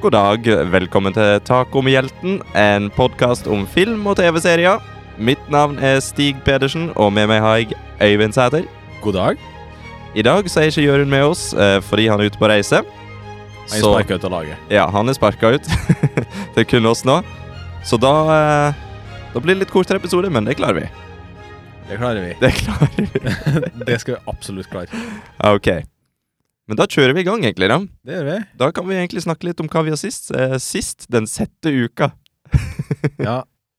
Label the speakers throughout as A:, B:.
A: God dag, velkommen til Taco med hjelten, en podkast om film og TV-serier. Mitt navn er Stig Pedersen, og med meg har jeg Øyvind Sæter.
B: God dag.
A: I dag så er ikke Jørund med oss eh, fordi han er ute på reise.
B: Jeg sparka ut av laget.
A: ja, han er sparka ut. det er kun oss nå. Så da eh, Da blir det litt kortere episode, men det klarer vi.
B: Det klarer vi.
A: Det klarer vi. Ah,
B: Det skal vi absolutt klare.
A: Ok. Men da kjører vi i gang, egentlig. da.
B: Det gjør vi.
A: Da kan vi egentlig snakke litt om hva vi har sist. Eh, sist den sjette uka.
B: Ja.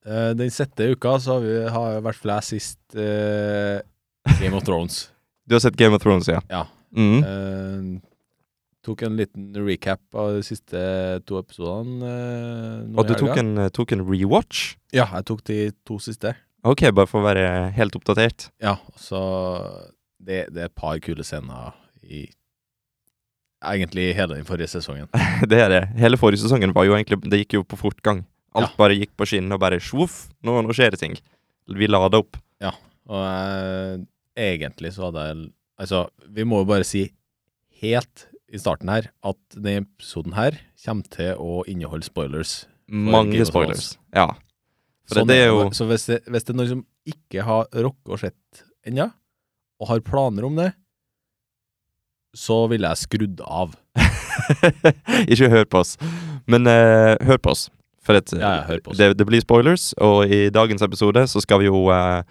B: eh, Den sjette uka så har vi har jo vært flest sist eh, Game of Thrones.
A: Du har sett Game of Thrones, ja?
B: Ja.
A: Mm.
B: Eh, tok en liten recap av de siste to episodene. eh, nå
A: Og du
B: i
A: tok
B: helga.
A: en, tok en rewatch?
B: Ja, jeg tok de to siste.
A: Ok, bare for å være helt oppdatert.
B: Ja, så det, det er et par kule scener i Egentlig hele den forrige sesongen.
A: Det er det. Hele forrige sesongen var jo egentlig Det gikk jo på fortgang. Alt
B: Ja.
A: bare gikk på skinnene og bare sjoff, nå, nå skjer det ting. Vi lada opp.
B: Og jeg, egentlig så hadde jeg Altså, vi må jo bare si helt i starten her at denne episoden her kommer til å inneholde spoilers. Game
A: Mange
B: of
A: spoilers. Ja. For
B: Sånn
A: det er
B: er
A: jo
B: det. Så hvis det, hvis det er noen som ikke har rukket å sett ennå, og har planer om det, så ville jeg skrudd av.
A: Ikke hør på oss. Men eh, hør på oss. For at, eh,
B: Ja, ja, hør på oss.
A: Det, det blir spoilers, og i dagens episode så skal vi jo eh,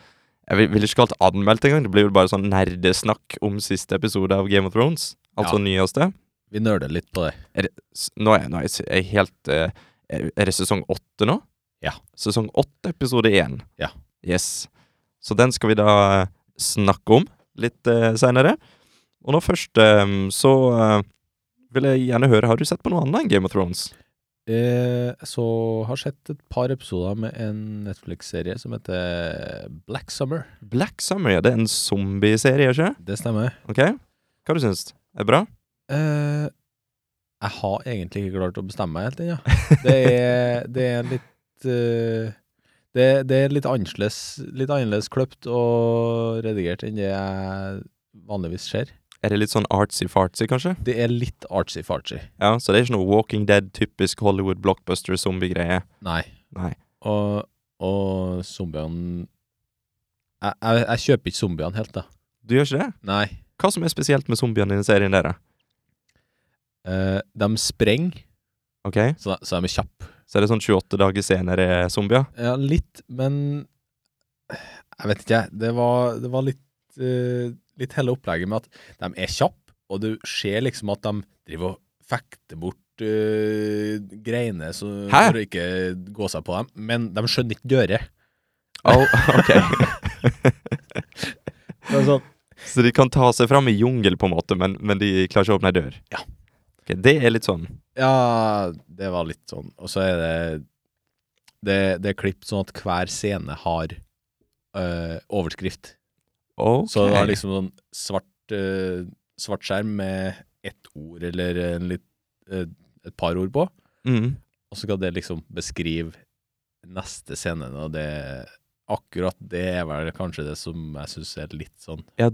A: Jeg vil, vil ikke kalle det anmeldt engang. Det blir jo bare sånn nerdesnakk om siste episode av Game of Thrones. Altså nyeste.
B: Vi nøler litt på det.
A: S- Nå er, nå er jeg s- jeg er helt eh, Er er det sesong åtte nå?
B: Ja.
A: Sesong åtte, episode én.
B: Ja.
A: Yes. Så den skal vi da eh, snakke om litt uh, seinere. Og nå først eh, så eh, vil jeg gjerne høre Har du sett på noe annet enn Game of Thrones?
B: Eh, så har jeg sett et par episoder med en Netflix-serie som heter Black Summer.
A: Black Summer, ja. Det er en zombieserie, ikke
B: Det stemmer.
A: Ok? Hva du syns du? Er det bra?
B: Eh, jeg har egentlig ikke klart å bestemme meg helt ennå. Det, er- det er litt eh, det, det er litt annerledes, litt annerledes kløpt og redigert enn det jeg vanligvis ser.
A: Er det litt sånn artsy-fartsy, kanskje?
B: Det er litt artsy-fartsy.
A: Ja, Så det er ikke noe Walking Dead, typisk Hollywood blockbuster-zombie-greie?
B: Nei.
A: Nei.
B: Og, og zombiene jeg, jeg, jeg kjøper ikke zombiene helt, da.
A: Du gjør ikke det?
B: Nei.
A: Hva som er spesielt med zombiene i den serien der, da?
B: Eh, de sprenger,
A: Ok?
B: så, så de er kjappe.
A: Så er det sånn 28 dager senere zombier.
B: Ja, litt, men Jeg vet ikke, jeg. Det var, det var litt, eh, litt hele opplegget med at de er kjappe, og du ser liksom at de driver og fekter bort eh, greiene så,
A: Hæ?
B: for å ikke gå seg på dem, men de skjønner ikke dører.
A: Oh, ok.
B: Det er sånn,
A: Så de kan ta seg fram i jungel, på en måte, men, men de klarer ikke å åpne ei dør.
B: Ja.
A: Ok, det er litt sånn
B: ja, det var litt sånn. Og så er det Det, det er klippet sånn at hver scene har eh, overskrift.
A: Ok.
B: Så det var liksom sånn svart, eh, svart skjerm med ett ord eller en litt, eh, et par ord på.
A: mm.
B: Og så skal det liksom beskrive neste scene, og det Akkurat det er vel kanskje det som jeg syns er litt sånn
A: Ja.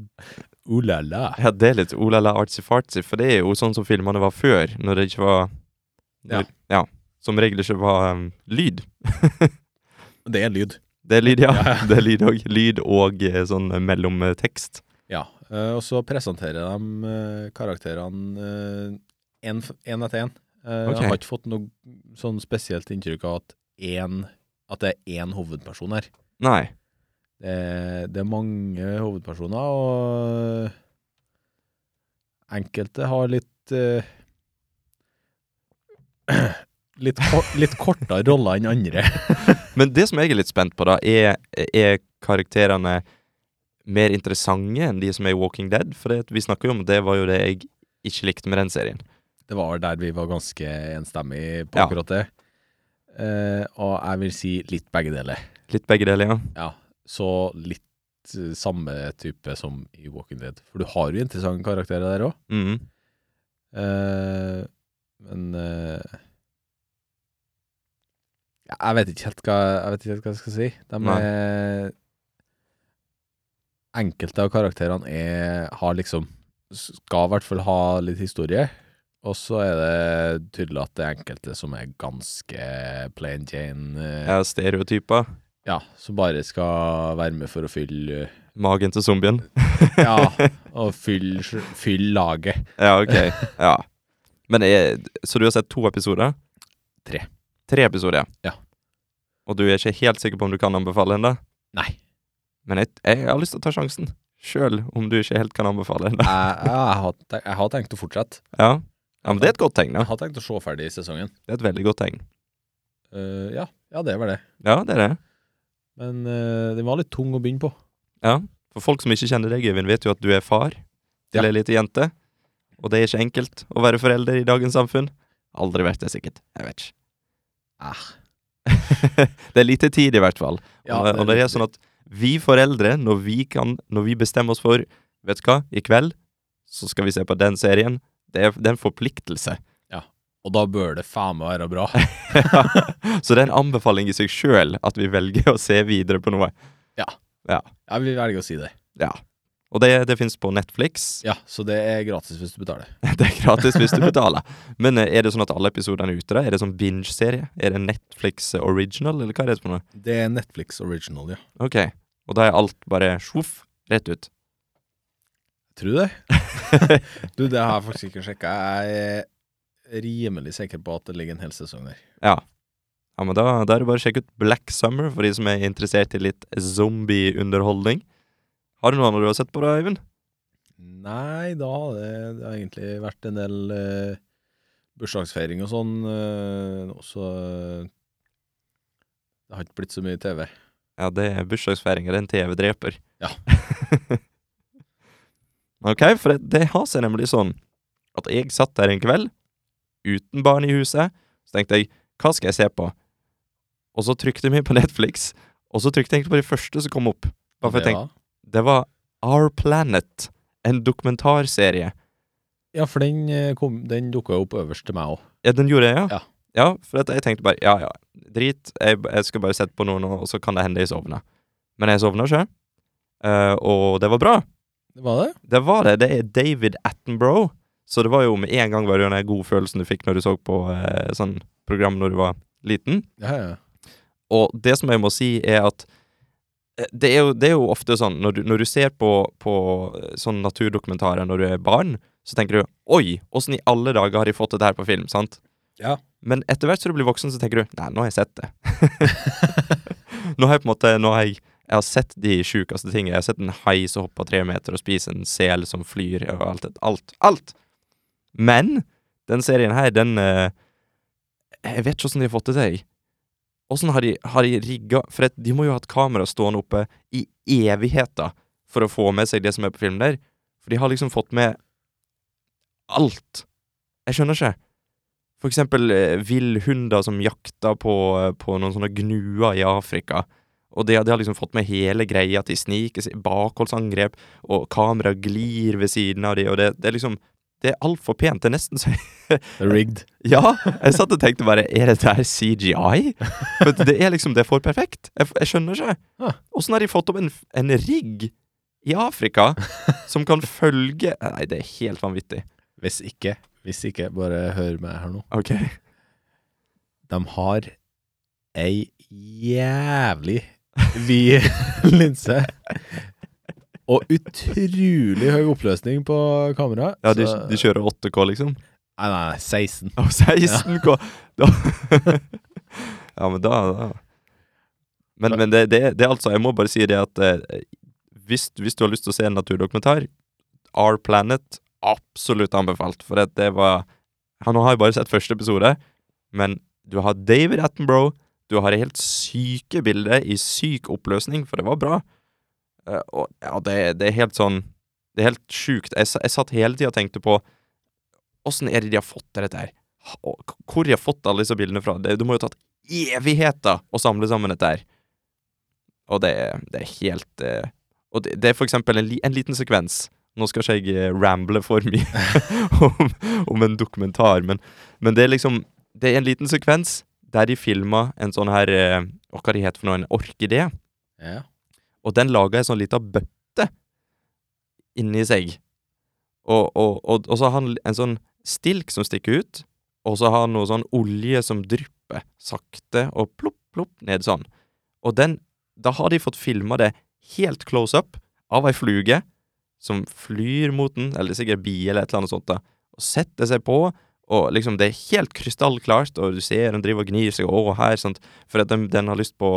B: Oh la la.
A: Ja, det er litt olala artsy-fartsy, for det er jo sånn som filmene var før, når det ikke var
B: Ja.
A: når- ja. Som regel ikke var um, lyd.
B: Det er lyd.
A: Det er lyd, ja.
B: Ja.
A: Det er lyd òg. Lyd og eh, sånn eh, mellomtekst.
B: Ja. eh, og så presenterer de eh, karakterene eh, én etter én.
A: Ok.
B: Jeg har ikke fått noe sånn spesielt inntrykk av at, en, at det er én hovedperson her.
A: Nei.
B: Det, det er mange hovedpersoner, og enkelte har litt eh, litt, kor litt kortere roller enn andre.
A: Men det som jeg er litt spent på, da, er, er karakterene mer interessante enn de som er i Walking Dead? For det, vi snakker jo om det var jo det jeg ikke likte med den serien.
B: Det var der vi var ganske enstemmige på
A: Ja.
B: akkurat det. Eh, og jeg vil si litt begge deler.
A: Litt begge deler, ja.
B: Ja, så litt eh, samme type som i Walking Dead. For du har jo interessante karakterer der òg.
A: Mhm.
B: Eh, men eh, ja, Jeg vet ikke helt hva jeg, vet ikke helt hva jeg skal si. De
A: Nei.
B: er Enkelte av karakterene er, har liksom Skal i hvert fall ha litt historie, og Og så er det tydelig at det er enkelte som er ganske plain Jane. eh,
A: Ja, stereotyper.
B: Ja, som bare skal være med for å fylle
A: Magen til zombien.
B: Ja, og fylle fyll laget.
A: Ja, ok. Ja. Men er, så du har sett to episoder?
B: Tre.
A: Tre episoder,
B: Ja.
A: Og du er ikke helt sikker på om du kan anbefale den da?
B: Nei.
A: Men jeg, jeg har lyst til å ta sjansen. Sjøl om du ikke helt kan anbefale den. da.
B: Jeg, jeg, har, te- jeg har tenkt å fortsette.
A: Ja. ja, men det er et godt tegn.
B: Jeg
A: da.
B: har tenkt å se ferdig sesongen.
A: Det er et veldig godt tegn.
B: Eh, ja, ja, det var det.
A: Ja, det er det.
B: Men eh, den var litt tung å begynne på.
A: Ja. For folk som ikke kjenner deg, Øyvind, vet jo at du er far til
B: Ja.
A: ei lita jente. Og det er ikke enkelt å være forelder i dagens samfunn. Aldri vært det, sikkert. Jeg vet ikke. det er lite tid, i hvert fall.
B: Ja,
A: og, og det er sånn at vi foreldre, når vi, kan, når vi bestemmer oss for Vet du hva, i kveld så skal vi se på den serien. Det er, det er en forpliktelse.
B: Og da bør det faen meg være bra.
A: Ja. så det er en anbefaling i seg sjøl at vi velger å se videre på noe.
B: Jeg vil velge å si det.
A: Og det, det fins på Netflix.
B: Ja, Så det er gratis hvis du betaler.
A: Det er gratis hvis du betaler. Men eh, er det sånn at alle episodene er ute? da? Er det sånn binge-serie? Er det Netflix eh, original, eller hva er det for noe?
B: Det er Netflix original, ja.
A: Ok, og da er alt bare sjoff, rett ut.
B: Tror du det? du, det har jeg faktisk ikke sjekka. Jeg er rimelig sikker på at det ligger en hel sesong der.
A: Ja, men da, da er det bare å sjekke ut Black Summer for de som er interessert i litt zombieunderholdning. Har du noe annet du har sett på da, Øyvind?
B: Nei, da har det, det har egentlig vært en del eh, bursdagsfeiring og sånn, eh, nå, så eh, det har ikke blitt så mye TV.
A: Ja, det er bursdagsfeiring, og det er en TV-dreper.
B: Ja.
A: ok, for det, det har seg nemlig sånn at jeg satt der en kveld, uten barn i huset, så tenkte jeg, hva skal jeg se på? Og så trykte jeg meg på Netflix, og så trykte jeg egentlig på de første som kom opp. Bare for jeg
B: Det
A: tenkte,
B: var-
A: det var Our Planet, en dokumentarserie.
B: Ja, for den, eh, kom- den dukka jo opp øverst til meg òg.
A: Ja, den gjorde jeg, ja.
B: Ja.
A: for at jeg tenkte bare, ja, ja, drit, jeg, jeg skal bare sette på noe nå, og så kan det hende jeg sovner. Men jeg sovner ikke, eh, og det var bra.
B: Var det?
A: Det var det. Det er David Attenborough. Så det var jo med en gang var det jo den gode følelsen du fikk når du så på eh, sånn program når du var liten.
B: Ja, ja.
A: Og det som jeg må si, er at eh, det er jo, det er jo ofte sånn når du, når du ser på, på eh, sånne naturdokumentarer når du er barn, så tenker du 'oi, åssen i alle dager har de fått dette her på film', sant?
B: Ja.
A: Men etter hvert som du blir voksen, så tenker du 'nei, nå har jeg sett det'. nå har jeg på en måte Nå har jeg jeg har sett de sjukeste tingene. Jeg har sett en hai som hopper tre meter og spiser en sel som flyr og alt. det- Alt. alt. Men den serien her, den eh, Jeg vet ikke åssen de har fått det til. Åssen har de, har de rigga For at de må jo ha hatt kamera stående oppe i evigheter for å få med seg det som er på filmen der. For de har liksom fått med alt. Jeg skjønner ikke. For eksempel eh, villhunder som jakter på, på noen sånne gnuer i Afrika. Og det, det har liksom fått med hele greia til sniker seg, bakholdsangrep, og kamera glir ved siden av de, og det, det er liksom Det er altfor pent. Det er nesten så
B: Det er rigged.
A: Ja! Jeg satt og tenkte bare Er dette her CGI? For at det er liksom Det er for perfekt. Jeg, jeg skjønner ikke.
B: Ja.
A: Åssen har de fått opp en, en rigg i Afrika som kan følge Nei, det er helt vanvittig.
B: Hvis ikke, hvis ikke, bare hør meg her nå.
A: Ok.
B: De har ei jævlig vid linse. Og utrolig høy oppløsning på kamera.
A: Ja, de,
B: så-
A: de kjører 8K, liksom?
B: Nei, nei, nei, 16.
A: Og 16K da, Ja, men da, da. Men, men det, det, det er altså Jeg må bare si det at eh, hvis, hvis du har lyst til å se en naturdokumentar, Our Planet absolutt anbefalt. For det, det var ja, Nå har jeg bare sett første episode, men du har David Attenborough. Du har helt syke bilder i syk oppløsning, for det var bra. Eh, og ja, det, det er helt sånn Det er helt sjukt. Jeg, sa- jeg satt hele tida og tenkte på Åssen er det de har fått til dette her? Ha- og k- Hvor de har fått alle disse bildene fra? Det, det må jo ha tatt evigheter å samle sammen dette her. Og det, er- det er helt eh, Og det, det er for eksempel en, li, en liten sekvens. Nå skal ikke jeg eh, ramble for mye om, om en dokumentar, men, men det er liksom Det er en liten sekvens der de filma en sånn her eh, Hva hva de heter for noe? En orkidé?
B: Ja.
A: Og den laga ei sånn lita bøtte inni seg. Og, og, og, og så har han en sånn stilk som stikker ut, og så har han noe sånn olje som drypper sakte og plopp, plopp ned sånn. Og den, da har de fått filma det helt close up av ei fluge som flyr mot den, eller sikkert bi eller et eller annet sånt, da, og setter seg på, og liksom det er helt krystallklart, og du ser den driver og gnir seg over her, sant, for at den, den har lyst på,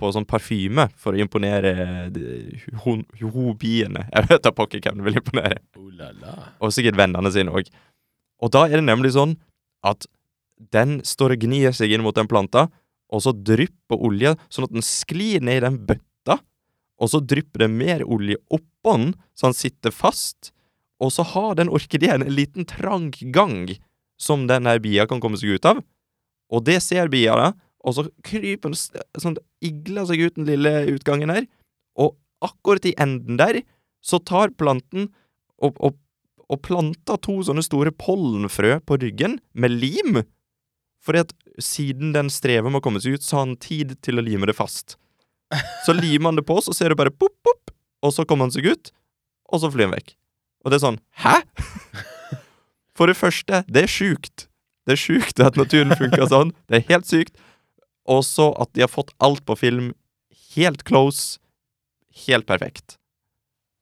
A: på sånn parfyme for å imponere de- hun- hobiene. Jeg vet da pokker hvem du vil imponere
B: Oh la la.
A: og sikkert vennene sine òg. Og da er det nemlig sånn at den står og gnir seg inn mot den planta, og så drypper olje, sånn at den sklir ned i den bøtta, og så drypper det mer olje oppå den, så den sitter fast, og så har den orkideen en liten trang gang som den her bia kan komme seg ut av, og det ser bia da, og så kryper den s- sånn, igler seg ut den lille utgangen her, og akkurat i enden der, så tar planten og, og og planta to sånne store pollenfrø på ryggen med lim. Fordi at siden den strever med å komme seg ut, så har han tid til å lime det fast. Så limer han det på, så ser du bare pop, pop, og så kommer han seg ut, og så flyr han vekk. Og det er sånn Hæ?! For det første, det er sjukt. Det er sjukt at naturen funker sånn. Det er helt sykt. Og så at de har fått alt på film helt close, helt perfekt.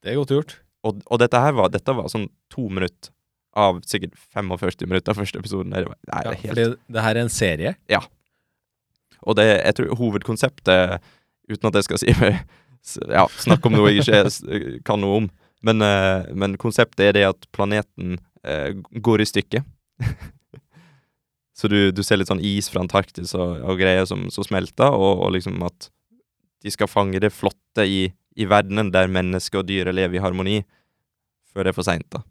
B: Det er godt gjort.
A: Og, og dette her var, dette var sånn to minutter av sikkert 45 minutter av første episoden. Der. Det var- Nei, det
B: Ja,
A: er helt,
B: fordi det her er en serie.
A: og det, jeg tror hovedkonseptet, uten at jeg skal si meg s- ja, Snakk om noe jeg ikke s- kan noe om. Men, eh, men konseptet er det at planeten eh, går i stykker. så du, du ser litt sånn is fra Antarktis og, og greier som, som smelter, og, og liksom at de skal fange det flotte i, i verdenen der mennesker og dyr lever i harmoni, før det er for seint, da.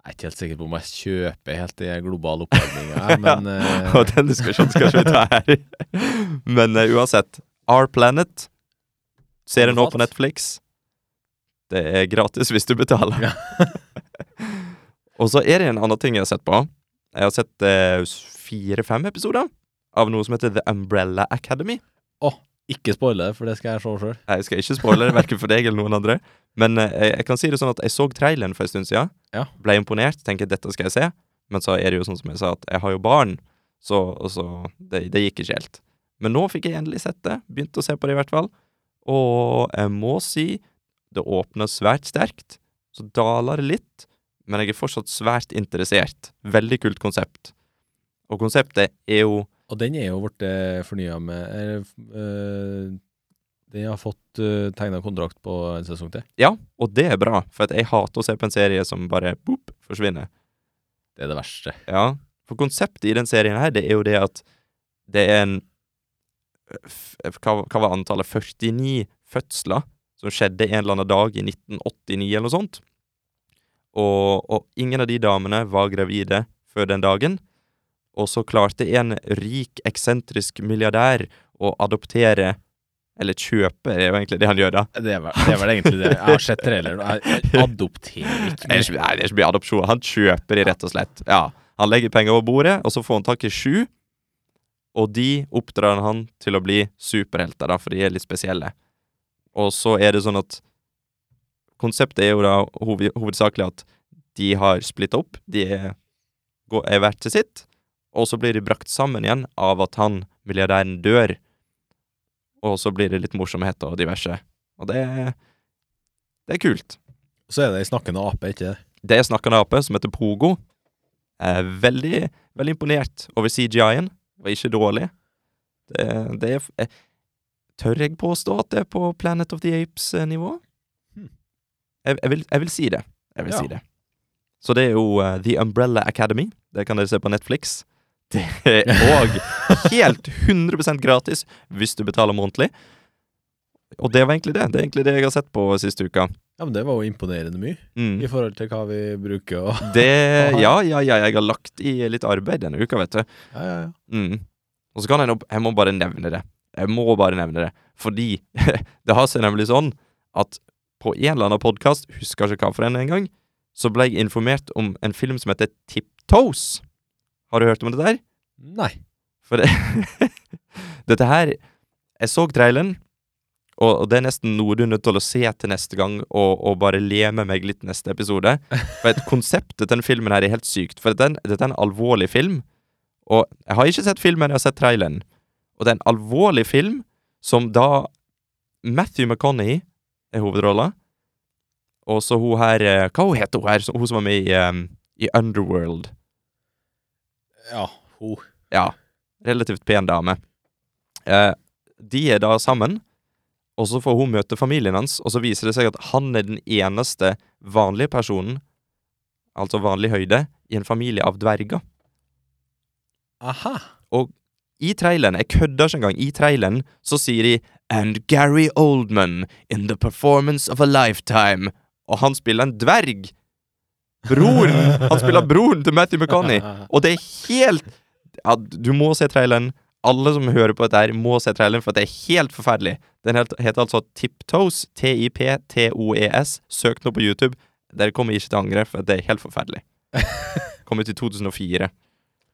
B: Jeg er ikke helt sikker på om jeg kjøper helt det globale oppvarminga, men eh,
A: Og den diskusjonen skal ikke vi ta her. Men eh, uansett, Our Planet ser jeg nå på
B: Anbefalt.
A: Netflix. Det er gratis hvis du betaler.
B: Ja.
A: Og så er det en annen ting jeg har sett på. Jeg har sett eh, fire-fem episoder av noe som heter The Umbrella Academy.
B: ikke spoile det, for det skal jeg se sjøl.
A: Jeg skal ikke spoile det, verken for deg eller noen andre. Men eh, jeg, jeg kan si det sånn at jeg så traileren for en stund siden.
B: Ja.
A: Ble imponert. Tenker dette skal jeg se. Men så er det jo sånn som jeg sa, at jeg har jo barn. Så, og så det, det gikk ikke helt. Men nå fikk jeg endelig sett det. Begynte å se på det, i hvert fall. Og jeg må si det åpner svært sterkt. Så daler det litt. Men jeg er fortsatt svært interessert. Veldig kult konsept. Og konseptet er jo
B: Og den er jo blitt fornya med eller, eh, Den har fått uh, tegna kontrakt på en sesong til.
A: Ja, og det er bra, for at jeg hater å se på en serie som bare boop, forsvinner.
B: Det er det verste.
A: Ja, for konseptet i den serien her, det er jo det at det er en f- Hva, hva var antallet? 49 fødsler som skjedde en eller annen dag i 1989 eller noe sånt. Og, og ingen av de damene var gravide før den dagen. Og så klarte en rik, eksentrisk milliardær å adoptere Eller kjøpe, det er jo egentlig det han gjør, da.
B: Det er vel, det er vel egentlig det. Jeg har sett traileren, og jeg, jeg adopterer
A: Det er
B: ikke.
A: ikke, nei, det er ikke mye adopsjon. Han kjøper de, rett og slett. Ja. Han legger penger over bordet, og så får han tak i sju. Og de oppdrar han til å bli superhelter, da, for de er litt spesielle. Og så er det sånn at Konseptet er jo da hoved, hovedsakelig at de har splitta opp. De er, går, er hvert til sitt. Og så blir de brakt sammen igjen av at han, milliardæren, dør. Og så blir det litt morsomhet og diverse. Og det, det er kult.
B: Så er det ei snakkende ape, ikke det?
A: Det er snakkende ape som heter Pogo. Er veldig, veldig imponert over CGI-en. Var ikke dårlig. Det, det er eh, Tør jeg påstå at det er på Planet of the Apes-nivå?
B: Hmm.
A: Jeg, jeg, vil, jeg vil si det. Jeg vil
B: Ja.
A: si det. Så det er jo eh, The Umbrella Academy. Det kan dere se på Netflix. Det er òg helt 100 gratis hvis du betaler månedlig. Og det var egentlig det. Det er egentlig det jeg har sett på siste uka.
B: Ja, men det var jo imponerende mye,
A: Mm.
B: i forhold til hva vi bruker og
A: Det, ja, ja, ja, jeg har lagt i litt arbeid denne uka, vet du.
B: Ja, ja, ja.
A: Mm. Og så kan jeg nå Jeg må bare nevne det. Jeg må bare nevne det. Fordi det har seg nemlig sånn at på en eller annen podkast, husker ikke hva for en engang, så ble jeg informert om en film som heter Tiptoes. Har du hørt om det der?
B: Nei.
A: For det, dette her Jeg så traileren, Og, og det er nesten noe du er nødt til å se til neste gang, og, og bare le med meg litt neste episode. For at konseptet til den filmen her er helt sykt. For den, dette er en alvorlig film. Og jeg har ikke sett filmen, jeg har sett traileren. Og det er en alvorlig film som da Matthew McConaughey er hovedrolla. Og så hun her eh, Hva hun heter hun her? Hun som var med i, eh, i Underworld.
B: Ja, ho.
A: Ja, relativt pen dame. Eh, de er da sammen, og så får hun møte familien hans, og så viser det seg at han er den eneste vanlige personen, altså vanlig høyde, i en familie av dverger.
B: Aha.
A: I traileren, jeg kødder ikke engang, i traileren så sier de And Gary Oldman in the performance of a lifetime. Og han spiller en dverg! Broren! Han spiller broren til Matthew McConney. Og det er helt ja, Du må se traileren. Alle som hører på dette, her må se traileren, for det er helt forferdelig. Den het- heter altså Tiptoes. T-I-P-T-O-E-S. E Søk nå på YouTube. Dere kommer ikke til å angre, for det er helt forferdelig. Kom ut i 2004.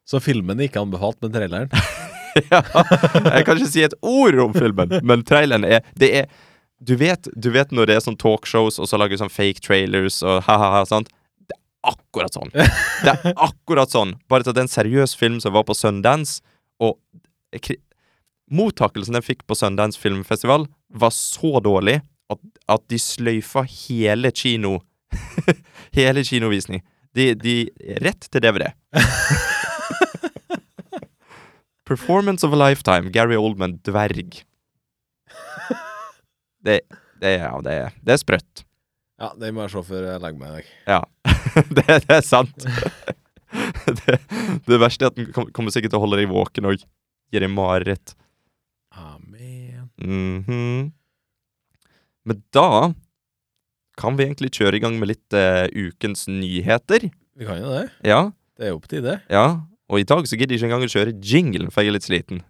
B: Så filmen er ikke anbefalt, men traileren?
A: Ja, jeg kan ikke si et ord om filmen, men traileren er Det er Du vet, du vet når det er sånn talkshows, og så lager sånn fake trailers og ha-ha-ha, sant? Det er akkurat sånn. Det er akkurat sånn. Bare at det er en seriøs film som var på Sundance, og kri- mottakelsen den fikk på Sundance filmfestival, var så dårlig at, at de sløyfa hele kino Hele kinovisning. De, de Rett til DVD. Performance of a lifetime. Gary Oldman, dverg. Det, det, er- ja, det, er- det er sprøtt.
B: Ja, den må jeg se før jeg legger meg i dag.
A: Ja. det, det er sant. det, det verste er at den kom- kommer sikkert til å holde deg våken og gi deg mareritt.
B: Amen.
A: Mhm. Men da kan vi egentlig kjøre i gang med litt eh, ukens nyheter.
B: Vi kan jo det.
A: Ja,
B: Det er jo på tide.
A: ja. Og i dag så gidder jeg ikke engang å kjøre jinglen, for jeg er litt sliten.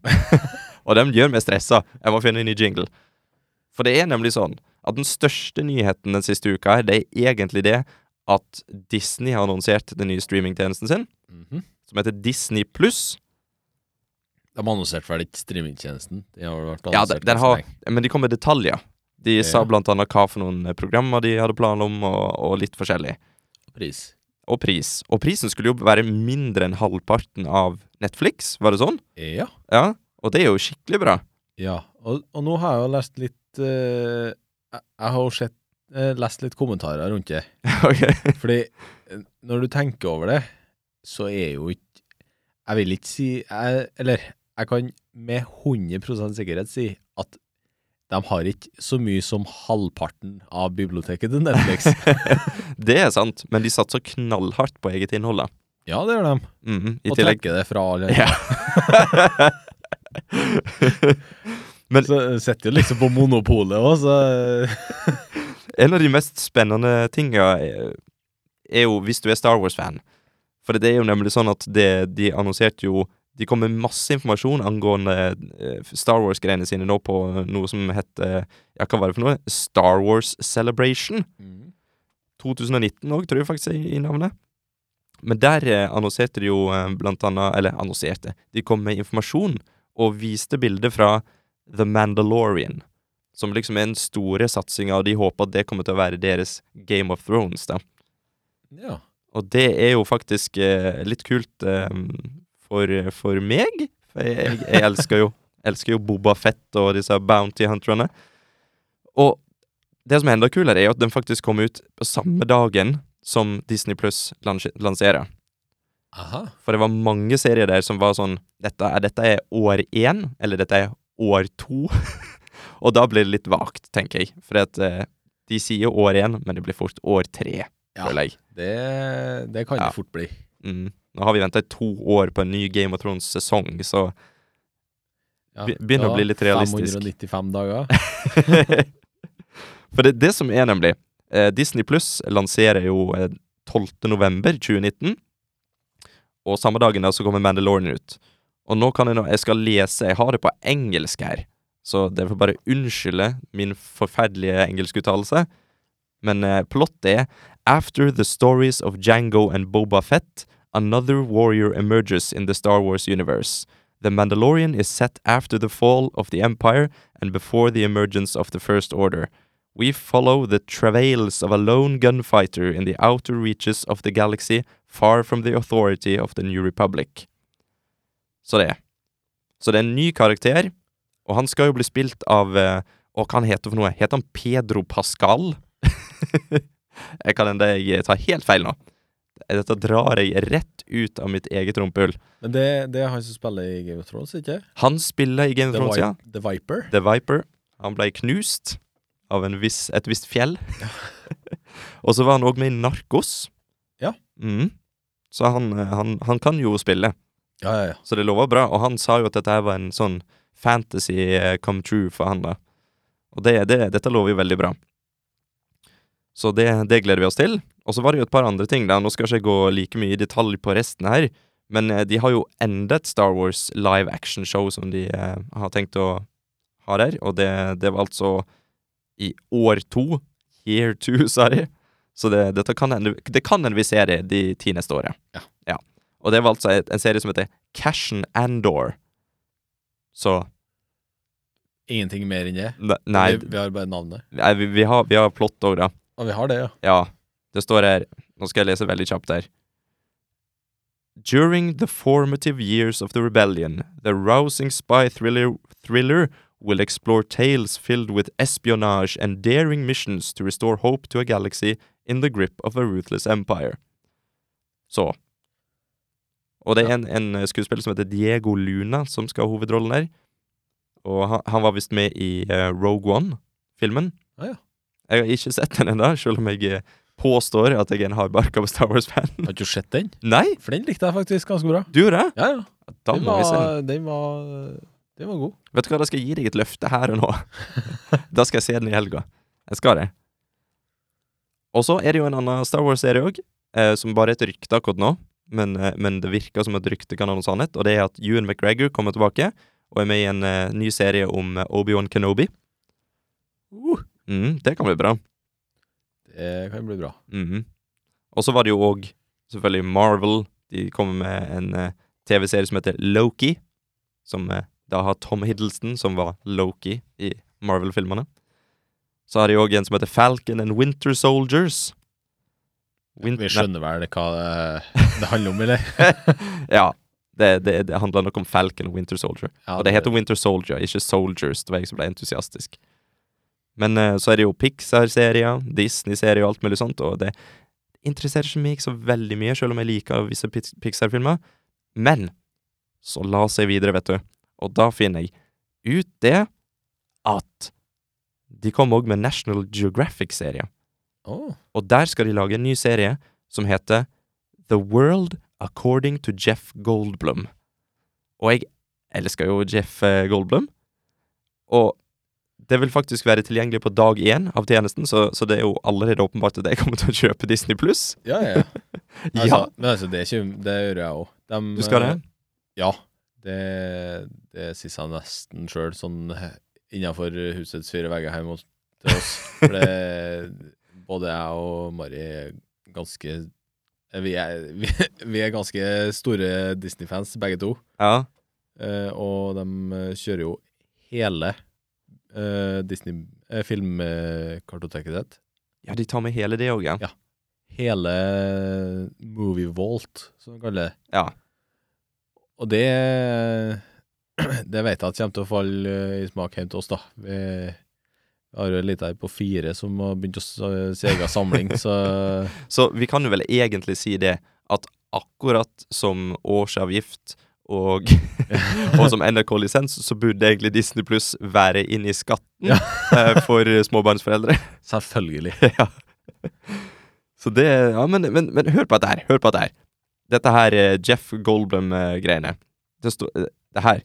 A: og den gjør meg stressa. Jeg må finne en ny jingle. For det er nemlig sånn at den største nyheten den siste uka her, det er egentlig det at Disney har annonsert den nye streamingtjenesten sin,
B: Mhm.
A: som heter Disney Pluss.
B: De annonserte vel ikke streamingtjenesten? De har vel vært
A: Ja,
B: annonsert
A: den- den
B: ganske
A: har-
B: lenge.
A: Men de kom med detaljer. De sa
B: Ja.
A: blant annet hva for noen eh, programmer de hadde planer om, og, og litt forskjellig.
B: pris.
A: Og pris. Og prisen skulle jo være mindre enn halvparten av Netflix, var det sånn?
B: Ja.
A: Ja. Og det er jo skikkelig bra.
B: ja. Og, og nå har jeg jo lest litt eh, Jeg, jeg har jo sett, eh, lest litt kommentarer rundt det.
A: ok.
B: Fordi eh, når du tenker over det, så er jo ikke Jeg vil ikke si jeg, Eller jeg kan med 100 sikkerhet si at de har ikke så mye som halvparten av biblioteket til Netflix.
A: Det er sant, men de satser knallhardt på eget innhold, da.
B: ja, det gjør de.
A: Mhm, I
B: Og
A: tillegg
B: trekker det fra alle.
A: Ja. Men-
B: Så jeg setter jo liksom på monopolet òg, så
A: En av de mest spennende tinga er, er jo hvis du er Star Wars-fan. For det er jo nemlig sånn at det, de annonserte jo De kom med masse informasjon angående eh, Star Wars-greiene sine nå på noe som het eh, Ja, hva var det for noe? Star Wars Celebration.
B: Mm.
A: 2019 òg, tror jeg faktisk er i navnet. Men der eh, annonserte de jo eh, blant annet Eller annonserte. De kom med informasjon og viste bilder fra The Mandalorian. Som liksom er den store satsinga, og de håper at det kommer til å være deres Game of Thrones. da.
B: Ja.
A: Og det er jo faktisk eh, litt kult eh, for, for meg. For jeg, jeg elsker jo elsker jo Boba Fett og disse Bounty Hunterne. Og det som er enda kulere, er jo at den faktisk kom ut på samme dagen som Disney Pluss lans lanserer.
B: Aha.
A: For det var mange serier der som var sånn Dette er, dette er år én, eller dette er år to. og da blir det litt vagt, tenker jeg. For at, eh, de sier år én, men det blir fort år tre,
B: Ja.
A: føler jeg.
B: Det, det kan
A: Ja.
B: det fort bli.
A: Mm. Nå har vi venta i to år på en ny Game of Thrones-sesong, så
B: Ja,
A: Be- begynner å
B: da
A: bli litt realistisk.
B: 595 dager.
A: For det, det som er nemlig eh, Disney Pluss lanserer jo eh, 12. november 2019, og samme dagen da så kommer Mandalorian ut. Og nå kan jeg nå Jeg skal lese Jeg har det på engelsk her, så det får bare unnskylde min forferdelige engelskuttalelse. Men eh, plottet er After the stories of Jango and Boba Fett, another warrior emerges in the Star Wars universe. The Mandalorian is set after the fall of the Empire and before the emergence of the First Order. We follow the travails of a lone gunfighter in the outer reaches of the galaxy, far from the authority of the New Republic. Så det. Så det er en ny karakter, og han skal jo bli spilt av eh, Å, hva han heter for noe? Heter han Pedro Pascal? jeg kan hende jeg tar helt feil nå. Dette drar jeg rett ut av mitt eget rumpehull.
B: Men det, det er han som spiller i Game of Thrones, ikke?
A: Han spiller i Game of
B: The,
A: Thrones, ja.
B: Vi The Viper.
A: The Viper. Han ble knust av en viss, et visst fjell. og så var han òg med i Narkos.
B: Ja.
A: Mm. Så han, eh, han, han kan jo spille,
B: Ja, ja, ja.
A: så det lover bra. Og han sa jo at dette her var en sånn fantasy eh, come true for han, da. Og det, det, dette lover jo veldig bra. Så det, det gleder vi oss til. Og så var det jo et par andre ting, da. Nå skal ikke jeg gå like mye i detalj på resten her, men eh, de har jo enda et Star Wars live action-show som de eh, har tenkt å har her, og det, det var altså i år to, year two, sa de. Så det, dette kan hende, det kan hende vi ser det de ti neste året.
B: Ja.
A: Og det var altså et, en serie som heter Cashen Andor. Så
B: Ingenting mer enn det.
A: ne- Nei,
B: Vi, vi har bare navnet.
A: nei, vi, vi har, vi har plott òg, da.
B: Og vi har det, ja.
A: Ja, det står her Nå skal jeg lese veldig kjapt her. During the formative years of the rebellion, the rousing spy thriller, thriller will explore tales filled with espionage and daring missions to restore hope to a galaxy in the grip of a ruthless empire. Så. Og det er en, en skuespiller som heter Diego Luna, som skal ha hovedrollen her. Og han, han var visst med i eh, Rogue One-filmen.
B: Ah, ja.
A: Jeg har ikke sett den ennå, selv om jeg eh, påstår at jeg er en hardbarka Star Wars-fan.
B: Har ikke du sett den?
A: Nei,
B: For den likte jeg faktisk ganske bra.
A: du gjorde det?
B: Ja, ja.
A: Da
B: Den
A: må vi se den.
B: var, den var, den var god.
A: Vet du hva, da skal jeg gi deg et løfte her og nå. da skal jeg se den i helga. Jeg skal det. Og så er det jo en annen Star Wars-serie òg, eh, som bare er et rykte akkurat nå. Men, eh, men det virker som et rykte kan ha noe sannhet, og det er at Ewan McGregor kommer tilbake og er med i en eh, ny serie om eh, Obi-Wan Kenobi. Mm, det kan bli bra.
B: Det kan bli bra.
A: Mhm. Og så var det jo òg selvfølgelig Marvel. De kommer med en eh, TV-serie som heter Loki. Som eh, da har Tom Hiddleston, som var Loki i Marvel-filmene. Så har de òg en som heter Falcon and Winter Soldiers. Win-
B: Vi
A: Nei,
B: skjønner vel hva det, det handler om, eller?
A: ja. Det, det, det handler nok om Falcon og Winter Soldier.
B: Ja,
A: Og det heter Winter Soldier, ikke Soldiers. Det var jeg som ble entusiastisk. Men eh, så er det jo Pixar-serier, Disney-serier og alt mulig sånt, og det interesserer ikke meg så veldig mye, selv om jeg liker visse Pix- Pixar-filmer. Men så la seg videre, vet du. Og da finner jeg ut det at de kom òg med National Geographic-serier.
B: Åh,
A: Og der skal de lage en ny serie som heter The World According to Jeff Goldblum. Og jeg elsker jo Jeff eh, Goldblum. Og det vil faktisk være tilgjengelig på dag én av tjenesten, så, så det er jo allerede åpenbart at jeg kommer til å kjøpe Disney pluss.
B: ja, ja. ja. Altså,
A: Ja,
B: Men altså, det, er ikke, det gjør jeg eh, òg.
A: du skal det?
B: Ja. Det, det sier jeg nesten sjøl, sånn innafor husets fire vegger hjemme hos til oss. For det, både jeg og Mari er ganske eh, vi er, vi, vi er ganske store Disney-fans, begge to.
A: Ja.
B: Eh, og de eh, kjører jo hele eh, Disney-filmkartoteket sitt.
A: ja, de tar med hele det òg, ja.
B: Hele Movie Vault, som de kaller det.
A: Ja.
B: Og det Det vet jeg at kommer til å falle eh, i smak hjemme til oss, da. Vi har jo en liten her på fire som har begynt å s- se egen samling, så
A: Så vi kan jo vel egentlig si det at akkurat som årsavgift og, og som NRK-lisens, så burde egentlig Disney pluss være inne i skatten
B: Ja.
A: eh, for småbarnsforeldre.
B: Selvfølgelig.
A: ja. Så det Ja, men, men, men hør på dette her. Hør på dette her. Dette her eh, Jeff Goldblum-greiene. Det står eh, Det her.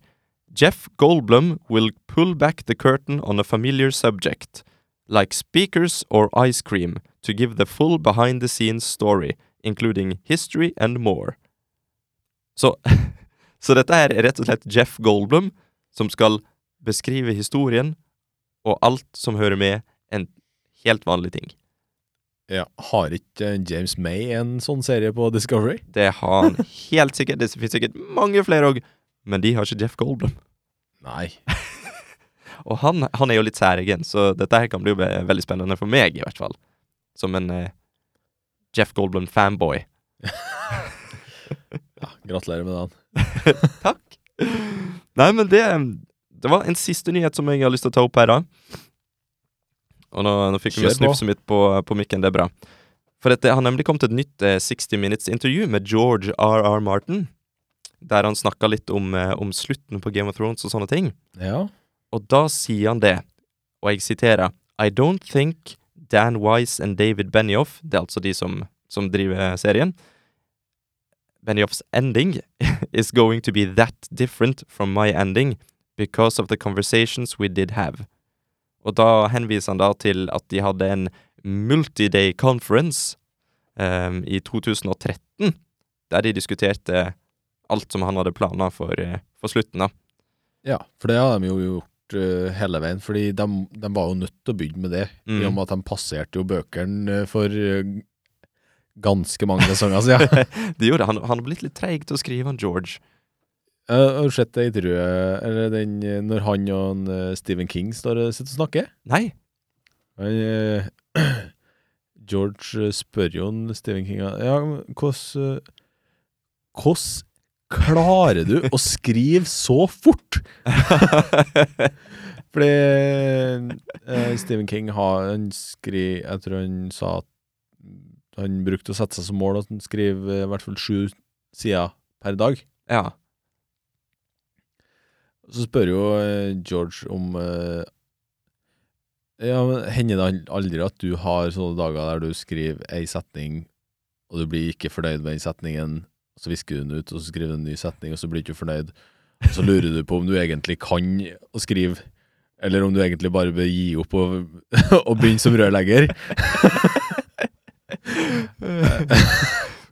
A: Jeff Goldblum will pull back the curtain on a familiar subject, like speakers or ice cream, to give the full behind the scenes story, including history and more. Så, så dette her er rett og slett Jeff Goldblum som skal beskrive historien og alt som hører med en helt vanlig ting.
B: Ja, har ikke eh, James May en sånn serie på Discovery?
A: Det har han helt sikkert. Det finnes sikkert mange flere òg. Men de har ikke Jeff Goldblum.
B: Nei.
A: Og han, han er jo litt særegen, så dette her kan bli ve veldig spennende for meg, i hvert fall. Som en eh, Jeff Goldblum-fanboy.
B: Ja, gratulerer med dagen.
A: Takk! Nei, men det Det var en siste nyhet som jeg har lyst til å ta opp her, da. Og nå, nå fikk vi
B: Kjør på.
A: snufset mitt på, på mikken, det er bra. For at det har nemlig kommet et nytt eh, 60 Minutes-intervju med George R.R. Martin. Der han snakka litt om, eh, om slutten på Game of Thrones og sånne ting.
B: Ja.
A: Og da sier han det, og jeg siterer I don't think Dan Wise and David Benioff Det er altså de som, som driver serien. Benioffs ending is going to be that different from my ending because of the conversations we did have. Og da henviser han da til at de hadde en multiday conference ehm, i 2013, der de diskuterte alt som han hadde planer for, eh, for slutten, da.
B: ja. For det har de jo gjort eh, hele veien. Fordi de, de var jo nødt til å begynne med det,
A: Mm.
B: i og med at de passerte jo bøkene eh, for eh, ganske mange sesonger siden.
A: det gjorde han. Han har blitt litt treig til å skrive, han George.
B: Eh, Har du sett det intervjuet Eller den eh, når han og han, eh, Stephen King står og sitter og snakker?
A: Nei.
B: Han, eh, George eh, spør jo han Stephen King Ja, men hvordan eh, Hvordan klarer du å skrive så fort? Fordi eh, Stephen King har han skri, Jeg tror han sa at han brukte å sette seg som mål at han skriver eh, i hvert fall sju sider per dag.
A: ja.
B: Så spør jo eh, George om eh, ja, men Hender det al- aldri at du har sånne dager der du skriver ei setning, og du blir ikke fornøyd med den setningen, så visker du den ut, og så skriver du en ny setning, og så blir du ikke fornøyd. Og så lurer du på om du egentlig kan å skrive, eller om du egentlig bare bør gi opp og, og begynne som rørlegger.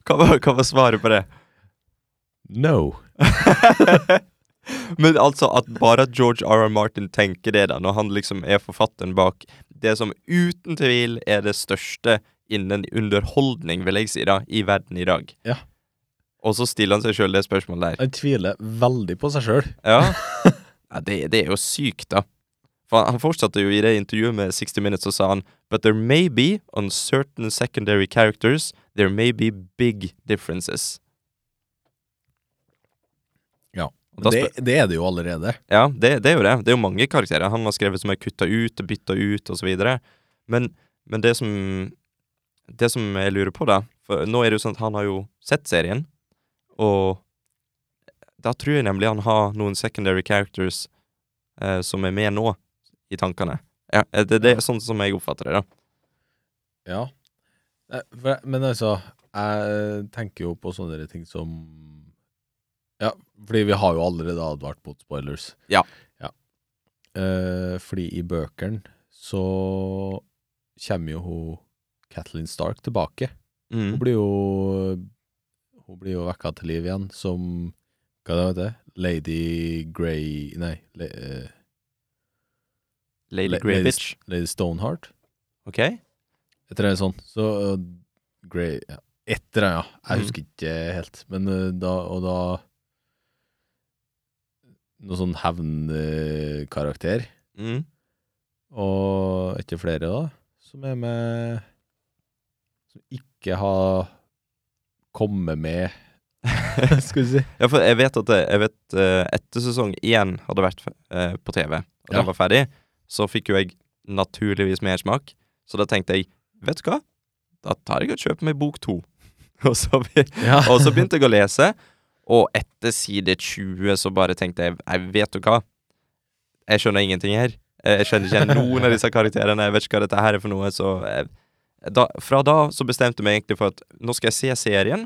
A: Hva var, hva var svaret på det?
B: No.
A: Men altså, at bare at George R.R. Martin tenker det, da, når han liksom er forfatteren bak det som uten tvil er det største innen underholdning, vil jeg si, da, i verden i dag.
B: Ja.
A: Og så stiller han seg sjøl det spørsmålet der.
B: Han tviler veldig på seg sjøl.
A: Ja. ja det, det er jo sykt, da. For han, han fortsatte jo i det intervjuet med 60 Minutes og sa han But there may be, on certain secondary characters, there may be big differences.
B: Ja,
A: Og da
B: Det,
A: spør,
B: det er det jo allerede.
A: ja det, det er jo det. Det er jo mange karakterer han har skrevet som er kutta ut og bytta ut osv. Men, men det som Det som jeg lurer på, da For nå er det jo sånn at han har jo sett serien, og da tror jeg nemlig han har noen secondary characters eh, som er med nå, i tankene. Ja, eh, det, det er sånn som jeg oppfatter det, da.
B: Ja. Nei, For, jeg- men altså, jeg tenker jo på sånne ting som Ja, fordi vi har jo allerede advart mot spoilers.
A: Ja.
B: ja. Eh, fordi i bøkene så kommer jo hun Kathleen Stark tilbake. Hun
A: Mm.
B: blir jo Hun blir jo vekka til liv igjen som Hva det heter det? Lady Grey Nei, le, eh,
A: Lady
B: le-
A: Grey
B: Lady-
A: Bitch.
B: Lady Stoneheart.
A: OK?
B: Et eller annet sånt. Så uh, Grey ja. Et eller annet, ja.
A: Mhm.
B: Jeg husker ikke helt. Men uh, da Og da Noe sånn hevnkarakter.
A: Mm.
B: Og ikke flere, da, som er med Som ikke har kommet med, skal vi si.
A: Ja, for jeg vet at det, jeg vet eh, etter sesong én hadde vært eh, på TV, og
B: Ja.
A: den var ferdig, så fikk jo jeg naturligvis mersmak. Så da tenkte jeg, vet du hva? Da tar jeg og kjøper meg bok to. og, så, be-
B: Ja.
A: og så begynte jeg å lese, og etter side 20 så bare tenkte jeg, jeg vet du hva? Jeg skjønner ingenting her. Eh, Jeg skjønner ikke noen av disse karakterene, jeg vet ikke hva dette her er for noe, så... eh, Da, fra da så bestemte jeg meg egentlig for at nå skal jeg se serien,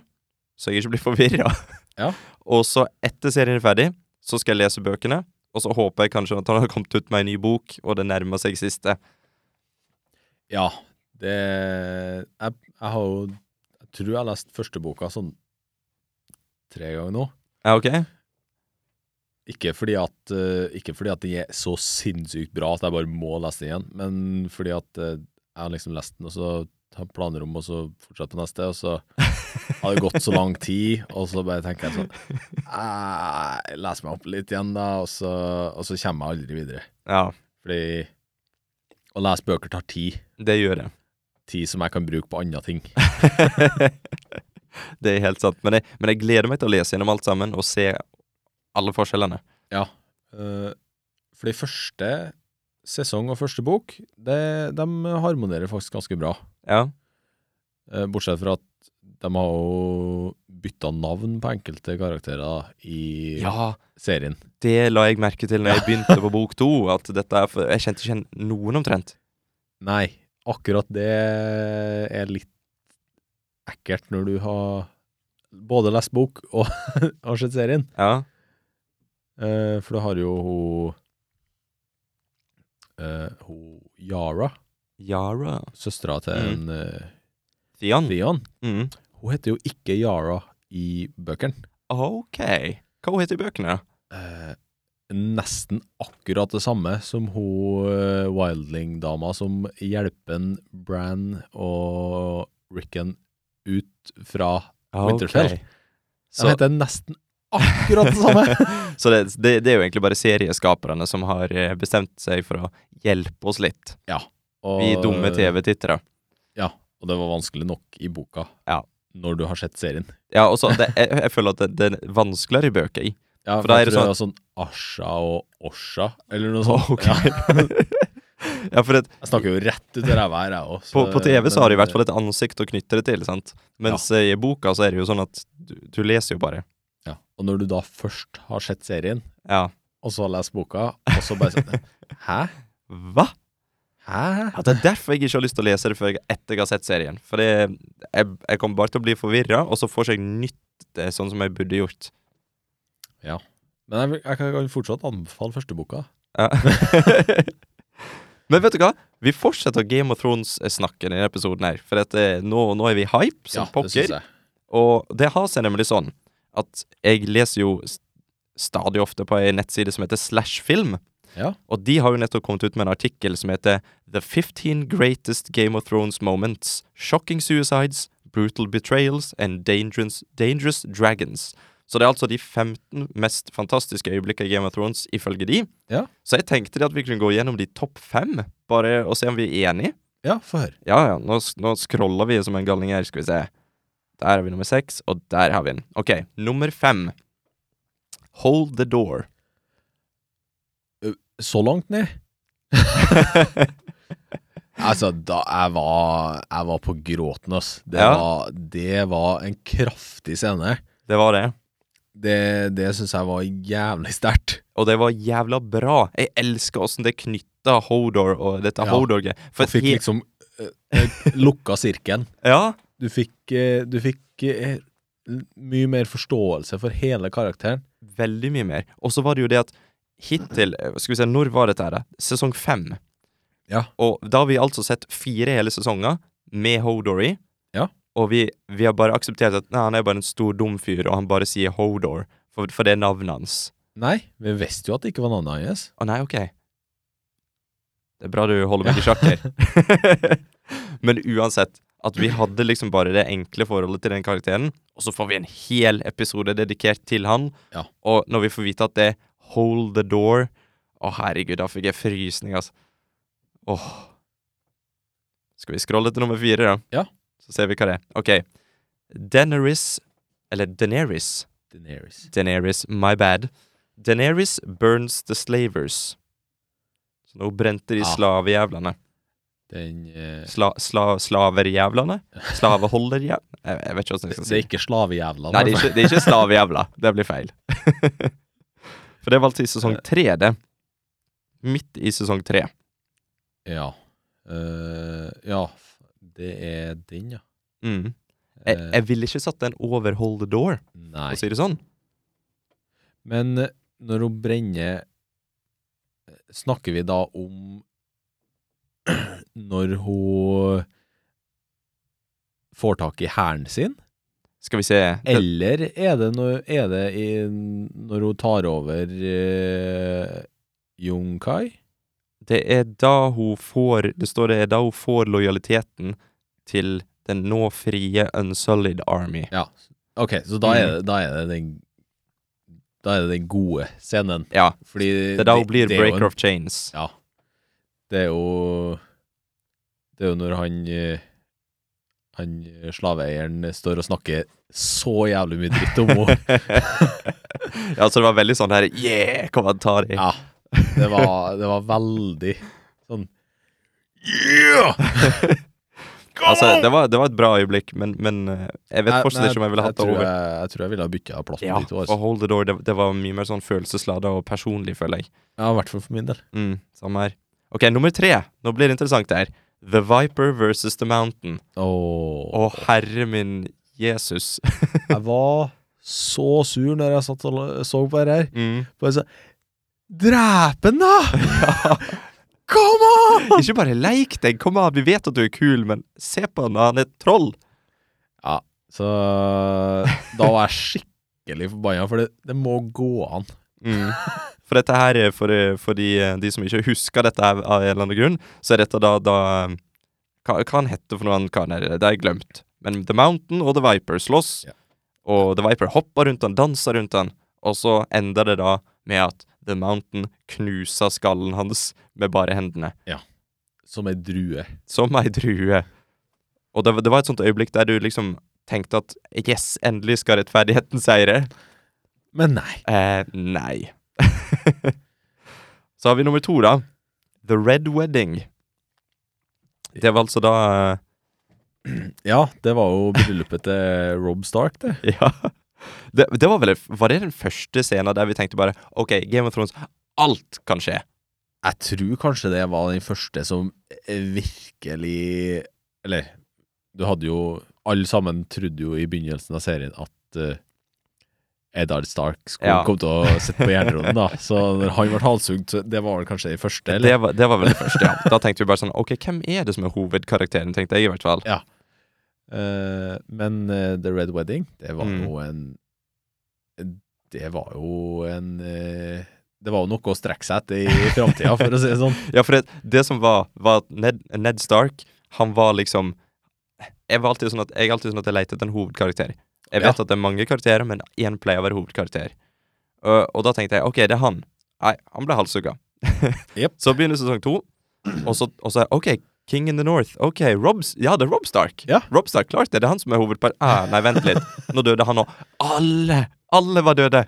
A: så jeg ikke blir forvirra. Og så etter serien er ferdig, så skal jeg lese bøkene. Og så håper jeg kanskje at han har kommet ut med en ny bok, og det nærmer seg siste.
B: ja det jeg, jeg har jo Jeg tror jeg har lest første boka sånn tre ganger nå.
A: Ja, ok?
B: Ikke fordi at eh, Ikke fordi at den er så sinnssykt bra at jeg bare må lese den igjen, men fordi at eh, jeg har liksom lest den, og så har jeg planer om å så fortsette på neste, og så Hadde gått så lang tid, og så bare tenker jeg sånn «Nei, Les meg opp litt igjen, da, og så, og så kommer jeg aldri videre.
A: Ja,
B: Fordi å lese bøker tar tid.
A: det gjør jeg.
B: Tid som jeg kan bruke på andre ting.
A: det er helt sant. Men jeg, men jeg gleder meg til å lese gjennom alt sammen og se alle forskjellene.
B: Ja. eh, fordi første sesong og første bok, det, de harmonerer faktisk ganske bra.
A: Ja.
B: Eh, bortsett fra at de har jo bytta navn på enkelte karakterer da, i
A: ja,
B: serien.
A: det la jeg merke til når jeg begynte på bok to. At dette er for, jeg kjente ikke igjen noen omtrent.
B: Nei, akkurat det er litt ekkelt når du har både lest bok og har sett serien.
A: Ja.
B: Eh, for du har jo hun eh, Hun Yara,
A: Yara
B: søstera til
A: Mm.
B: en, eh,
A: Theon.
B: Theon.
A: Mm.
B: Hun heter jo ikke Yara i bøkene.
A: OK. Hva heter bøkene?
B: Eh, nesten akkurat det samme som hun eh, wildling-dama som hjelper Bran og Rickon ut fra
A: Ok.
B: Winterfell.
A: Så-
B: Så heter nesten akkurat det samme.
A: Så det, det, det er jo egentlig bare serieskaperne som har eh, bestemt seg for å hjelpe oss litt,
B: Og,
A: vi dumme TV-tittere.
B: Ja, og det var vanskelig nok i boka
A: Ja.
B: når du har sett serien.
A: Ja, og så det, jeg, jeg føler at det, det er vanskeligere i bøker.
B: Ja,
A: For da er det
B: sånn, sånn Asha og Osha, eller noe sånt.
A: Ok.
B: Ja,
A: Ja, for det,
B: jeg snakker jo rett ut av ræva her, jeg òg.
A: på, på TV så har de i hvert fall et ansikt å knytte det til, sant? Mens eh, i boka så er det jo sånn at du, du leser jo bare.
B: ja. Og når du da først har sett serien,
A: Ja.
B: og så har lest boka, og så bare sånn Hæ?
A: Hva?!
B: Hæ?
A: Ja, Det er derfor jeg ikke har lyst til å lese det før jeg etter jeg har sett serien. For det, jeg, jeg kommer bare til å bli forvirra, og så får jeg ikke nytt det sånn som jeg burde gjort.
B: Men jeg, vil- jeg kan- kan fortsatt anbefale første boka.
A: Ja. Men vet du hva? Vi fortsetter Game of Thrones-snakken i denne episoden her. For at, eh, nå, nå er vi hype som
B: det
A: pokker.
B: synes jeg.
A: Og det har seg nemlig sånn at jeg leser jo s- stadig ofte på ei nettside som heter Slashfilm.
B: Ja.
A: Og de har jo nettopp kommet ut med en artikkel som heter The 15 Greatest Game of Thrones Moments. Shocking Suicides, Brutal Betrayals and Dangerous, dangerous Dragons. Så det er altså de 15 mest fantastiske øyeblikkene i Game of Thrones ifølge de.
B: Ja.
A: Så jeg tenkte det at vi kunne gå gjennom de topp fem, bare og se om vi er enige.
B: Ja, få høre.
A: Ja, ja, nå, s- nå scroller vi som en galning her, skal vi se. Der har vi nummer seks, og der har vi den. Ok, nummer fem. Hold the door.
B: Så langt ned? Altså, da jeg var, jeg var på gråten, ass. Det,
A: Ja.
B: var, det var en kraftig scene.
A: det var det.
B: Det, det syns jeg var jævlig sterkt.
A: Og det var jævla bra. Jeg elsker åssen det knytta Hodor og dette
B: Ja.
A: Hodor-greia. For
B: Og fikk
A: he-
B: liksom eh, eh, lukka sirkelen.
A: Ja,
B: Du fikk, eh, du fikk eh, mye mer forståelse for hele karakteren.
A: veldig mye mer. Og så var det jo det at hittil eh, Skal vi se, når var dette her? da? Sesong fem.
B: Ja.
A: Og da har vi altså sett fire hele sesonger med Hodor i.
B: Ja.
A: Og vi, vi har bare akseptert at nei, han er bare en stor dum fyr, og han bare sier Hodor, for, for det er navnet hans.
B: Nei, vi visste jo at det ikke var navnet hans.
A: Å nei, ok. Det er bra du holder meg i sjakk her. Men uansett, at vi hadde liksom bare det enkle forholdet til den karakteren, og så får vi en hel episode dedikert til han,
B: Ja.
A: og når vi får vite at det er Hold the Door Å, herregud, da fikk jeg frysning, altså. Åh. Skal vi scrolle til nummer fire, da?
B: Ja.
A: Så ser vi hva det er. Ok. Daenerys, eller Daenerys,
B: Daenerys.
A: Daenerys, my bad. Daenerys burns the slavers. Så nå brente de
B: Ja.
A: slavejævlene.
B: Den eh,
A: Sla, sla, slaverjævlene? Slaveholderjævlene? Jeg, jeg vet ikke hvordan jeg skal
B: Det
A: si
B: er ikke slavejævla.
A: Nei, det er ikke, det er ikke slavejævla. Det blir feil. For det var alltid i
B: Eh.
A: sesong tre, det. Midt i sesong tre.
B: sånn- Ja. Eh, ja, f- det er den, ja.
A: Mm. Jeg,
B: Eh,
A: jeg ville ikke satt den over Hold the Door,
B: Nei.
A: for å si det sånn.
B: Men eh, når hun brenner eh, Snakker vi da om når hun får tak i hæren sin?
A: Skal vi se det,
B: Eller er det når, er det i, når hun tar over eh, Yunkai?
A: det er da hun får Det står det er da hun får lojaliteten til Den nå frie Unsullied Army.
B: Ja. OK, så da
A: Mm.
B: er det, da er det den Da er det den gode scenen.
A: Ja.
B: Fordi
A: Det er da hun blir
B: det er jo en-
A: Breaker of Chains.
B: Ja. Det er jo Det er jo når han eh, Han eh, slaveeieren står og snakker så jævlig mye dritt om henne.
A: ja, så det var veldig sånn her Yeah! Kommentar. i.
B: Ja. Det var, det var veldig sånn Yeah! Come
A: Altså,
B: on!
A: det var, det var et bra øyeblikk, men, men eh, jeg vet
B: Nei,
A: fortsatt
B: nei,
A: ikke om jeg ville hatt det
B: tror
A: over.
B: Jeg, jeg tror jeg ville ha bytta plass med
A: Ja,
B: de to.
A: og
B: Altså.
A: Hold the Door, det, det var mye mer sånn følelsesladet og personlig, føler jeg.
B: Ja, I hvert fall for min del.
A: Mm, samme her. Ok, nummer tre. Nå blir det interessant her. The Viper versus The Mountain.
B: Åh.
A: Å, herre min Jesus.
B: Jeg var så sur når jeg satt og la- så på det her.
A: Mm.
B: Bare så Drep den, da!
A: Ja.
B: Come on!
A: Ikke bare leik deg, kom av, vi vet at du er kul, men se på han, han er et troll.
B: Så da var jeg skikkelig forbanna, for det, det må gå an.
A: Mm. For dette her, er for, for de, de som ikke husker dette her av en eller annen grunn, så er dette da, da hva, hva han heter for noe han kan her, det har jeg glemt. Men The Mountain og The Viper slåss,
B: Ja.
A: og The Viper hopper rundt han, danser rundt han, og så ender det da med at The Mountain knuser skallen hans med bare hendene.
B: Som ei drue.
A: Som ei drue. Og det, det var et sånt øyeblikk der du liksom tenkte at yes, endelig skal rettferdigheten seire.
B: Men nei.
A: Eh, nei. Så har vi nummer to, da. The Red Wedding. Det var altså da eh,
B: Ja, det var jo bryllupet til Rob Stark, det.
A: Ja. Det, det var vel Var det den første scenen der vi tenkte bare OK, Game of Thrones, alt kan skje.
B: Jeg tror kanskje det var den første som virkelig Eller, du hadde jo Alle sammen trodde jo i begynnelsen av serien at uh, Eddard Stark skulle
A: Ja.
B: komme til å sitte på jernronden, da. Så når han ble halshugd, så det var vel kanskje den første, eller?
A: Det var, det var vel det første, ja. Da tenkte vi bare sånn OK, hvem er det som er hovedkarakteren, tenkte jeg i hvert fall.
B: Eh, men eh, The Red Wedding, det var
A: Mm.
B: jo en Det var jo en eh, Det var jo noe å strekke seg etter i framtida, for å si det sånn.
A: Ja, for det, det som var, var at Ned, Ned Stark, han var liksom Jeg var alltid sånn at jeg, er alltid sånn at jeg leter etter en hovedkarakter. Jeg vet
B: Ja.
A: at det er mange karakterer, men én pleier å være hovedkarakter. Og, og da tenkte jeg OK, det er han. Nei, han ble halshugga.
B: Jep.
A: Så begynner sesong to, og så, og så er OK, King in the North. OK, Robs Ja, det er Rob Stark.
B: Ja.
A: Rob Stark klarte det. Det er han som er hovedpar... Ah, nei, vent litt. Nå døde han òg. Alle! Alle var døde.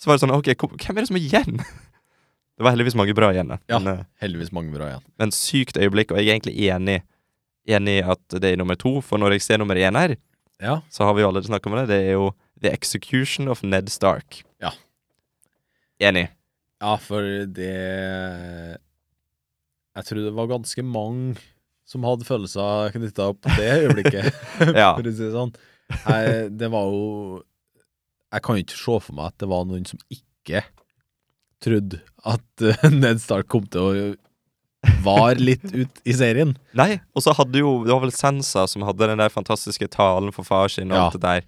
A: Så var det sånn OK, kom- hvem er det som er igjen? Det var heldigvis mange bra igjen. da.
B: Ja.
A: Men, eh,
B: Heldigvis mange bra igjen.
A: men sykt øyeblikk, og jeg er egentlig enig Enig i at det er nummer to, for når jeg ser nummer én her,
B: Ja.
A: så har vi jo allerede snakket om det, det er jo The Execution of Ned Stark.
B: Ja.
A: Enig.
B: Ja, for det Jeg tror det var ganske mange som hadde følelser knytta opp til det øyeblikket,
A: Ja.
B: for å si det sånn. Jeg, det var jo Jeg kan jo ikke se for meg at det var noen som ikke trodde at eh, Ned Stark kom til å vare litt ut i serien.
A: Nei, og så hadde jo, det var vel Sansa som hadde den der fantastiske talen for far sin og
B: Ja.
A: alt det der.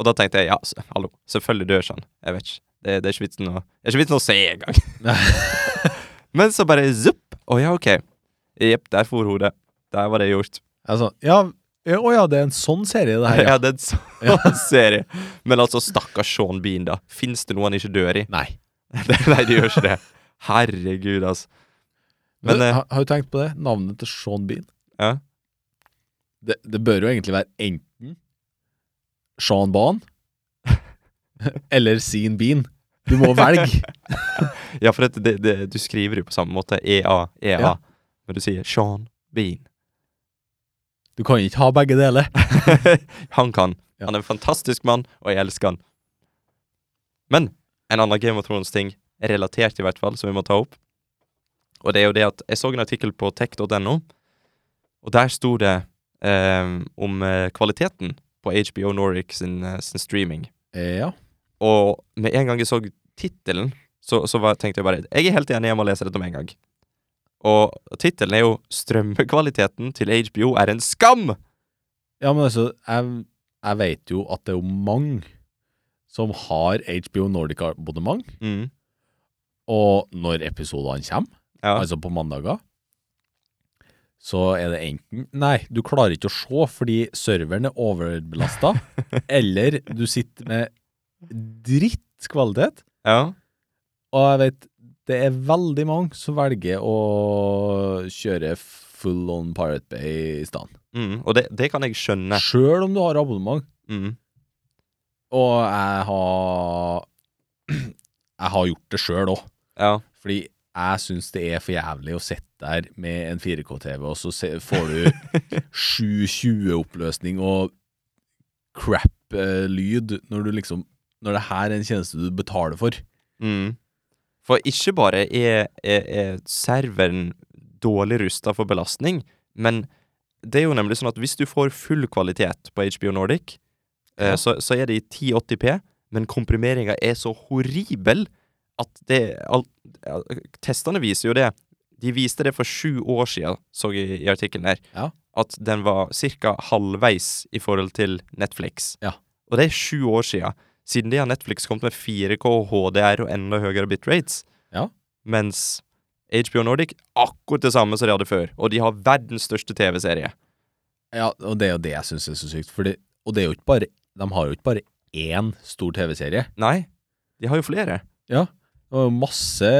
A: Og da tenkte jeg, ja, s- hallo, selvfølgelig dør ikke han. Jeg vet ikke. Det, det er ikke vitsen å, det er ikke vitsen å se engang. Men så bare, zupp, å ja, ok. Jepp, der for hodet. Der var det gjort.
B: Jeg sa ja, ja, å ja, det er en sånn serie, det
A: Ja,
B: her, ja.
A: det er en sånn serie. Men altså, stakkars Sean Bean, da. Fins det noe han ikke dør i?
B: Nei.
A: Nei, det gjør ikke det. Herregud, altså. Men,
B: Men,
A: eh,
B: har, har du tenkt på det? Navnet til Sean Bean?
A: Ja.
B: Det, det bør jo egentlig være enten Sean Baan eller Sean Bean. Du må velge.
A: Ja, for det, det, det, du skriver jo på samme måte. E EA, EA.
B: Ja.
A: Men du sier Sean Bean.
B: Du kan ikke ha begge deler.
A: han kan.
B: Ja.
A: Han er en fantastisk mann, og jeg elsker han. Men en annen Game of Thrones-ting, relatert i hvert fall, som vi må ta opp, og det er jo det at jeg så en artikkel på tech.no, og der sto det eh, om eh, kvaliteten på HBO Nordic sin, eh, sin streaming.
B: Eh, Ja.
A: Og med en gang jeg så tittelen, så, så var, tenkte jeg bare Jeg er helt enig, jeg må lese dette med en gang. Og tittelen er jo 'Strømmekvaliteten til HBO er en skam'!
B: ja, men altså, jeg, jeg vet jo at det er jo mange som har HBO Nordic-abonnement,
A: Mm,
B: og når episodene kommer,
A: ja.
B: altså på mandager, så er det enten Nei, du klarer ikke å se fordi serveren er overbelasta, eller du sitter med drittkvalitet.
A: Ja.
B: Og jeg vet det er veldig mange som velger å kjøre full on Pirate Bay i stedet.
A: Mm, og det, det kan jeg skjønne.
B: Sjøl om du har abonnement.
A: Mm.
B: Og jeg har Jeg har gjort det sjøl òg.
A: Ja.
B: Fordi jeg syns det er for jævlig å sitte der med en 4K-TV, og så se, får du 720-oppløsning og crap-lyd når du liksom Når det her er en tjeneste du betaler for.
A: Mm. For ikke bare er, er, er serveren dårlig rusta for belastning, men det er jo nemlig sånn at hvis du får full kvalitet på HBO Nordic, eh,
B: Ja.
A: så, så er det i 1080P, men komprimeringa er så horribel at det alt, ja, Testene viser jo det. De viste det for sju år siden, så jeg i, i artikkelen her,
B: Ja.
A: at den var ca. halvveis i forhold til Netflix.
B: Ja.
A: Og det er sju år siden. Siden det har Netflix kommet med 4K, HDR og enda høyere bitrates.
B: Ja.
A: Mens HBO Nordic akkurat det samme som de hadde før. Og de har verdens største TV-serie.
B: Ja, og det er jo det jeg syns er så sykt. Fordi, og det er jo ikke bare De har jo ikke bare én stor TV-serie.
A: Nei, de har jo flere.
B: Det var jo masse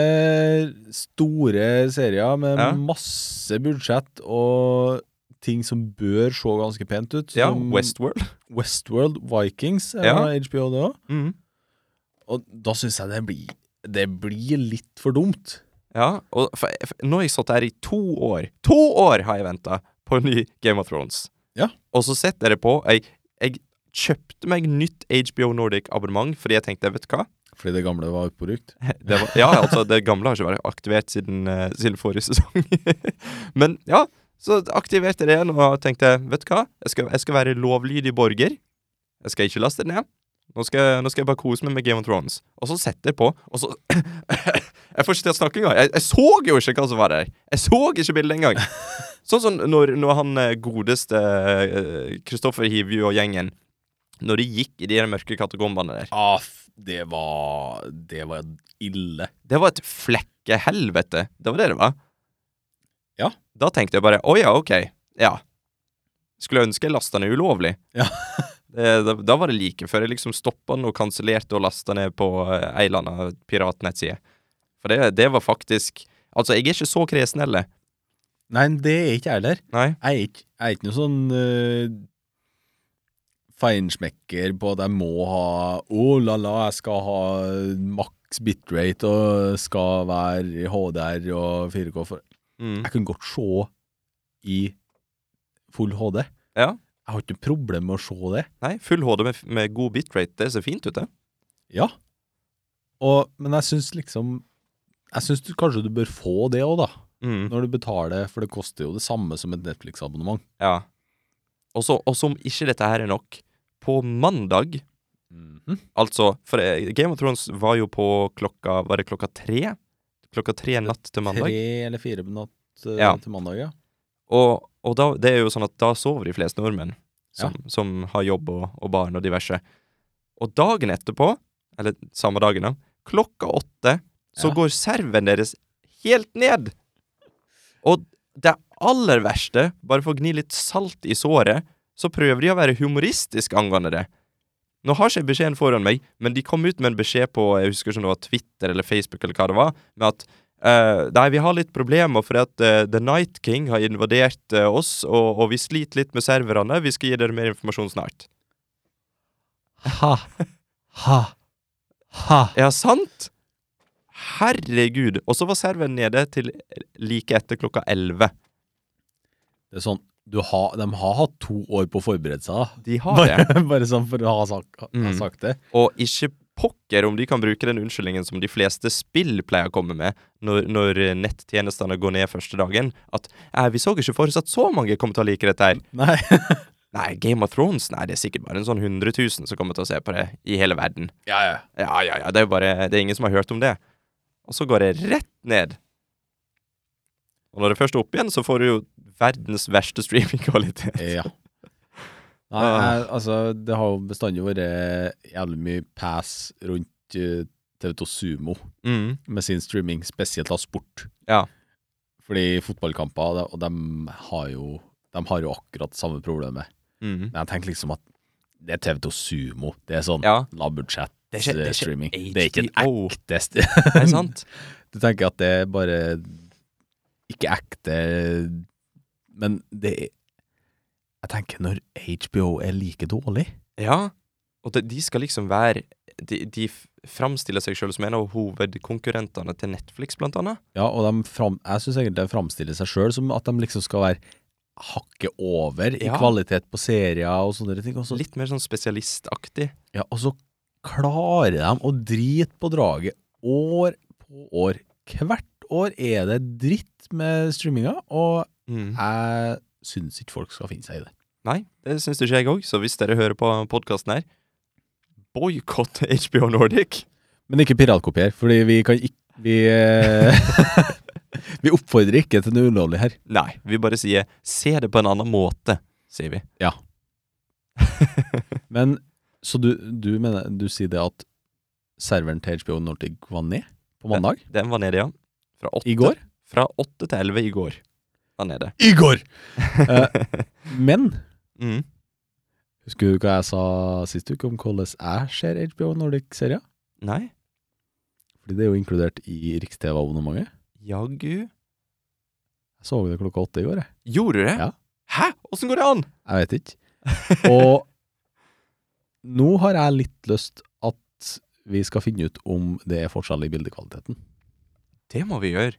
B: store serier med
A: Ja.
B: masse budsjett og ting som bør se ganske pent ut.
A: Ja,
B: som
A: Westworld.
B: Westworld Vikings er
A: Ja.
B: ja. HBO, det òg.
A: Mm.
B: Og da syns jeg det blir Det blir litt for dumt.
A: Ja, og for, for, nå har jeg satt her i to år. To år har jeg venta på en ny Game of Thrones.
B: Ja.
A: Og så setter jeg det på. Jeg, jeg kjøpte meg nytt HBO Nordic-abonnement fordi jeg tenkte, vet du hva
B: Fordi det gamle var utbrukt.
A: Det var, ja, altså, det gamle har ikke vært aktivert siden, eh, siden forrige sesong. Men ja, så aktiverte jeg det igjen og tenkte vet du hva, jeg skal, jeg skal være lovlydig borger. Jeg skal ikke laste det ned. Nå skal, jeg- nå skal jeg bare kose meg med Game of Thrones. Og så setter jeg på, og så Jeg får ikke til å snakke engang. Jeg, jeg så jo ikke hva som var der. Jeg så ikke bildet engang. Sånn som når, når han eh, godeste Kristoffer Hivju og gjengen Når de gikk i de der mørke katakombene der.
B: Ah, f- det var Det var ille.
A: Det var et flekkehelvete. Det var det det var.
B: Ja.
A: Da tenkte jeg bare å ja, ok. Ja. Skulle ønske jeg lasta ned ulovlig.
B: Ja.
A: det, da, da var det like før jeg liksom stoppa den og kansellerte og lasta ned på eh, ei eller anna piratnettside. For det, det var faktisk Altså, jeg er ikke så kresen heller.
B: Nei, men det er ikke jeg heller.
A: Nei.
B: Jeg er ikke, jeg er ikke noe sånn uh, feinschmecker på at jeg må ha Oh la la, jeg skal ha maks bitrate og skal være i HDR og 4K. For
A: Mm.
B: jeg kan godt se i full HD.
A: Ja.
B: Jeg har ikke noe problem med å se det.
A: Nei, full HD med, med god bitrate, det ser fint ut, det.
B: Ja. Og, men jeg syns liksom Jeg syns du- kanskje du bør få det òg, da.
A: Mm.
B: Når du betaler, for det koster jo det samme som et Netflix-abonnement.
A: Ja. Og så, og som ikke dette her er nok, på mandag
B: Hm?
A: Altså, for eh, Game of Thrones var jo på klokka Var det klokka tre? Klokka tre natt til mandag.
B: Tre eller fire på natt eh,
A: Ja.
B: til mandag, ja.
A: Og, og da, det er jo sånn at da sover de fleste nordmenn som, som har jobb og, og barn og diverse. Og dagen etterpå, eller samme dagen, da, klokka åtte, så
B: Ja.
A: går serven deres helt ned. Og det aller verste, bare for å gni litt salt i såret, så prøver de å være humoristisk angående det. Nå har ikke jeg beskjeden foran meg, men de kom ut med en beskjed på jeg husker ikke om det var Twitter eller Facebook eller hva det var, med at eh, nei, vi har litt problemer fordi at eh, The Night King har invadert eh, oss, og, og vi sliter litt med serverne. Vi skal gi dere mer informasjon snart.
B: Ha, ha, ha.
A: Ja, sant? Herregud. Og så var serveren nede til like etter klokka 11.
B: Det er sånn, du har, de har hatt to år på å forberede seg, da.
A: De har det.
B: Bare, bare sånn for å ha sagt, ha, ha
A: Mm.
B: sagt det.
A: Og ikke pokker om de kan bruke den unnskyldningen som de fleste spill pleier å komme med når, når eh, nettjenestene går ned første dagen, at eh, vi så ikke for oss at så mange kom til å like dette her.
B: Nei.
A: Nei, Game of Thrones, nei, det er sikkert bare en sånn 100 000 som kommer til å se på det i hele verden.
B: Ja, ja.
A: Ja, ja, ja, det er jo bare Det er ingen som har hørt om det. Og så går det rett ned. Og når det først er opp igjen, så får du jo verdens verste streamingkvalitet.
B: ja. Nei,
A: Ah.
B: jeg, altså, det har jo bestandig vært jævlig mye pass rundt eh, TV2 Sumo
A: Mm.
B: med sin streaming, spesielt av sport.
A: Ja.
B: Fordi fotballkamper, det- og de har jo, de har jo akkurat samme problemet.
A: Mhm.
B: Men jeg tenker liksom at det er TV2 Sumo. Det er sånn
A: Ja.
B: lavbudsjett
A: Det er ikke- det er ikke
B: streaming. Det er ikke et
A: HBO.
B: ekte sted.
A: Er det sant?
B: Du tenker at det er bare ikke ekte Men det er Jeg tenker når HBO er like dårlig
A: Ja. Og de, de skal liksom være De, de f- framstiller seg sjøl som en av hovedkonkurrentene til Netflix, blant annet.
B: Ja, og de fram, jeg syns egentlig de framstiller seg sjøl som at de liksom skal være hakket over i
A: Ja.
B: kvalitet på serier og sånne ting. Og så,
A: Litt mer sånn spesialistaktig.
B: ja, og så klarer de å drite på draget år på år. Hvert år er det dritt med streaminga, og
A: Mm.
B: jeg syns ikke folk skal finne seg i det.
A: Nei, det syns ikke jeg òg, så hvis dere hører på podkasten her, boikott HBO Nordic!
B: Men ikke piratkopier, fordi vi kan ikke Vi, eh, vi oppfordrer ikke til noe ulovlig her.
A: Nei, vi bare sier 'se det på en annen måte', sier vi.
B: Men så du, du mener Du sier det at serveren til HBO Nordic var ned på mandag?
A: Den var nede, ja. Fra åtte,
B: I går?
A: Fra åtte til elleve i går. Var nede.
B: I går! Eh, Men
A: Mm.
B: husker du hva jeg sa sist uke om hvordan jeg ser HBO Nordic-serier?
A: Nei,
B: Fordi det er jo inkludert i Rikstv-abonnementet.
A: jaggu
B: Jeg så det klokka åtte i går, jeg.
A: Gjorde du det?
B: Ja.
A: Hæ? Åssen går det an?
B: Jeg vet ikke. Og nå har jeg litt lyst at vi skal finne ut om det er forskjell i bildekvaliteten.
A: Det må vi gjøre.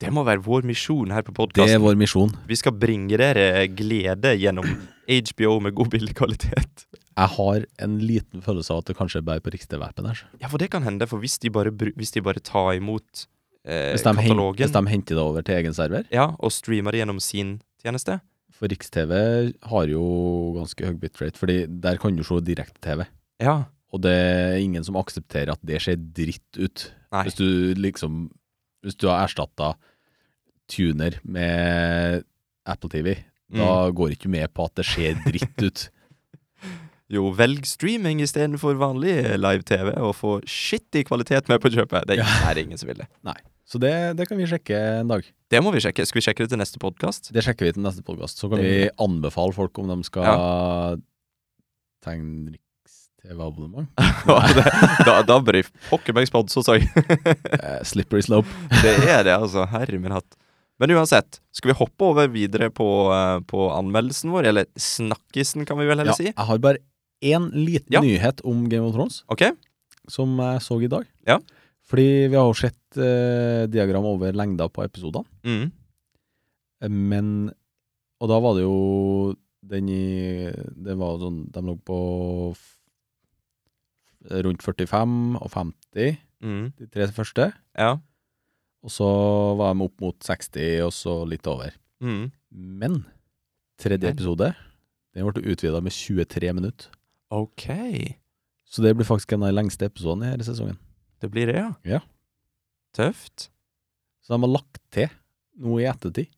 A: Det må være vår misjon her på
B: Det
A: podkasten.
B: er vår misjon.
A: Vi skal bringe dere glede gjennom HBO med god bildekvalitet.
B: Jeg har en liten følelse av at det kanskje er bare på Rikstv-appen her.
A: Ja, for det kan hende, for hvis de bare, bru- hvis de bare tar imot eh,
B: Hvis de, hen,
A: katalogen
B: hvis de henter det over til egen server.
A: ja, og streamer det gjennom sin tjeneste
B: For Riks-TV har jo ganske høy bitrate, fordi der kan du se direkte-TV.
A: Ja.
B: Og det er ingen som aksepterer at det ser dritt ut.
A: Nei.
B: Hvis du liksom Hvis du har erstatta tuner med Apple TV, da
A: Mm.
B: går ikke du med på at det ser dritt ut.
A: Jo, velg streaming istedenfor vanlig live-TV, og få skittig kvalitet med på kjøpet. Det er, det er ingen som vil det.
B: Så det, det kan vi sjekke en dag.
A: Det må vi sjekke. Skal vi sjekke det til neste podkast?
B: Det sjekker vi til neste podkast. Så kan
A: Det
B: vi
A: gjør
B: anbefale folk om de skal tegne Riks-TV-abonnement.
A: da, da bør de pokker meg sponse, så
B: Eh, slippery slope.
A: Det er det, altså. Herre min hatt. Men uansett, skal vi hoppe over videre på, eh, på anmeldelsen vår? Eller snakkisen, kan vi vel heller
B: Ja,
A: si?
B: jeg har bare én liten
A: Ja.
B: nyhet om Game of Thrones,
A: OK?
B: som jeg så i dag.
A: Ja.
B: Fordi vi har jo sett eh, diagram over lengda på episodene,
A: Mm.
B: eh, men Og da var det jo den i Det var jo sånn De lå på f, rundt 45 og 50,
A: Mm.
B: de tre første.
A: Ja.
B: Og så var de opp mot 60, og så litt over.
A: Mm.
B: Men tredje
A: Men.
B: episode Den ble utvida med 23 minutter.
A: OK.
B: Så det blir faktisk en av de lengste episodene i denne sesongen.
A: Det blir det, ja.
B: Ja.
A: Tøft.
B: Så de har lagt til noe i ettertid.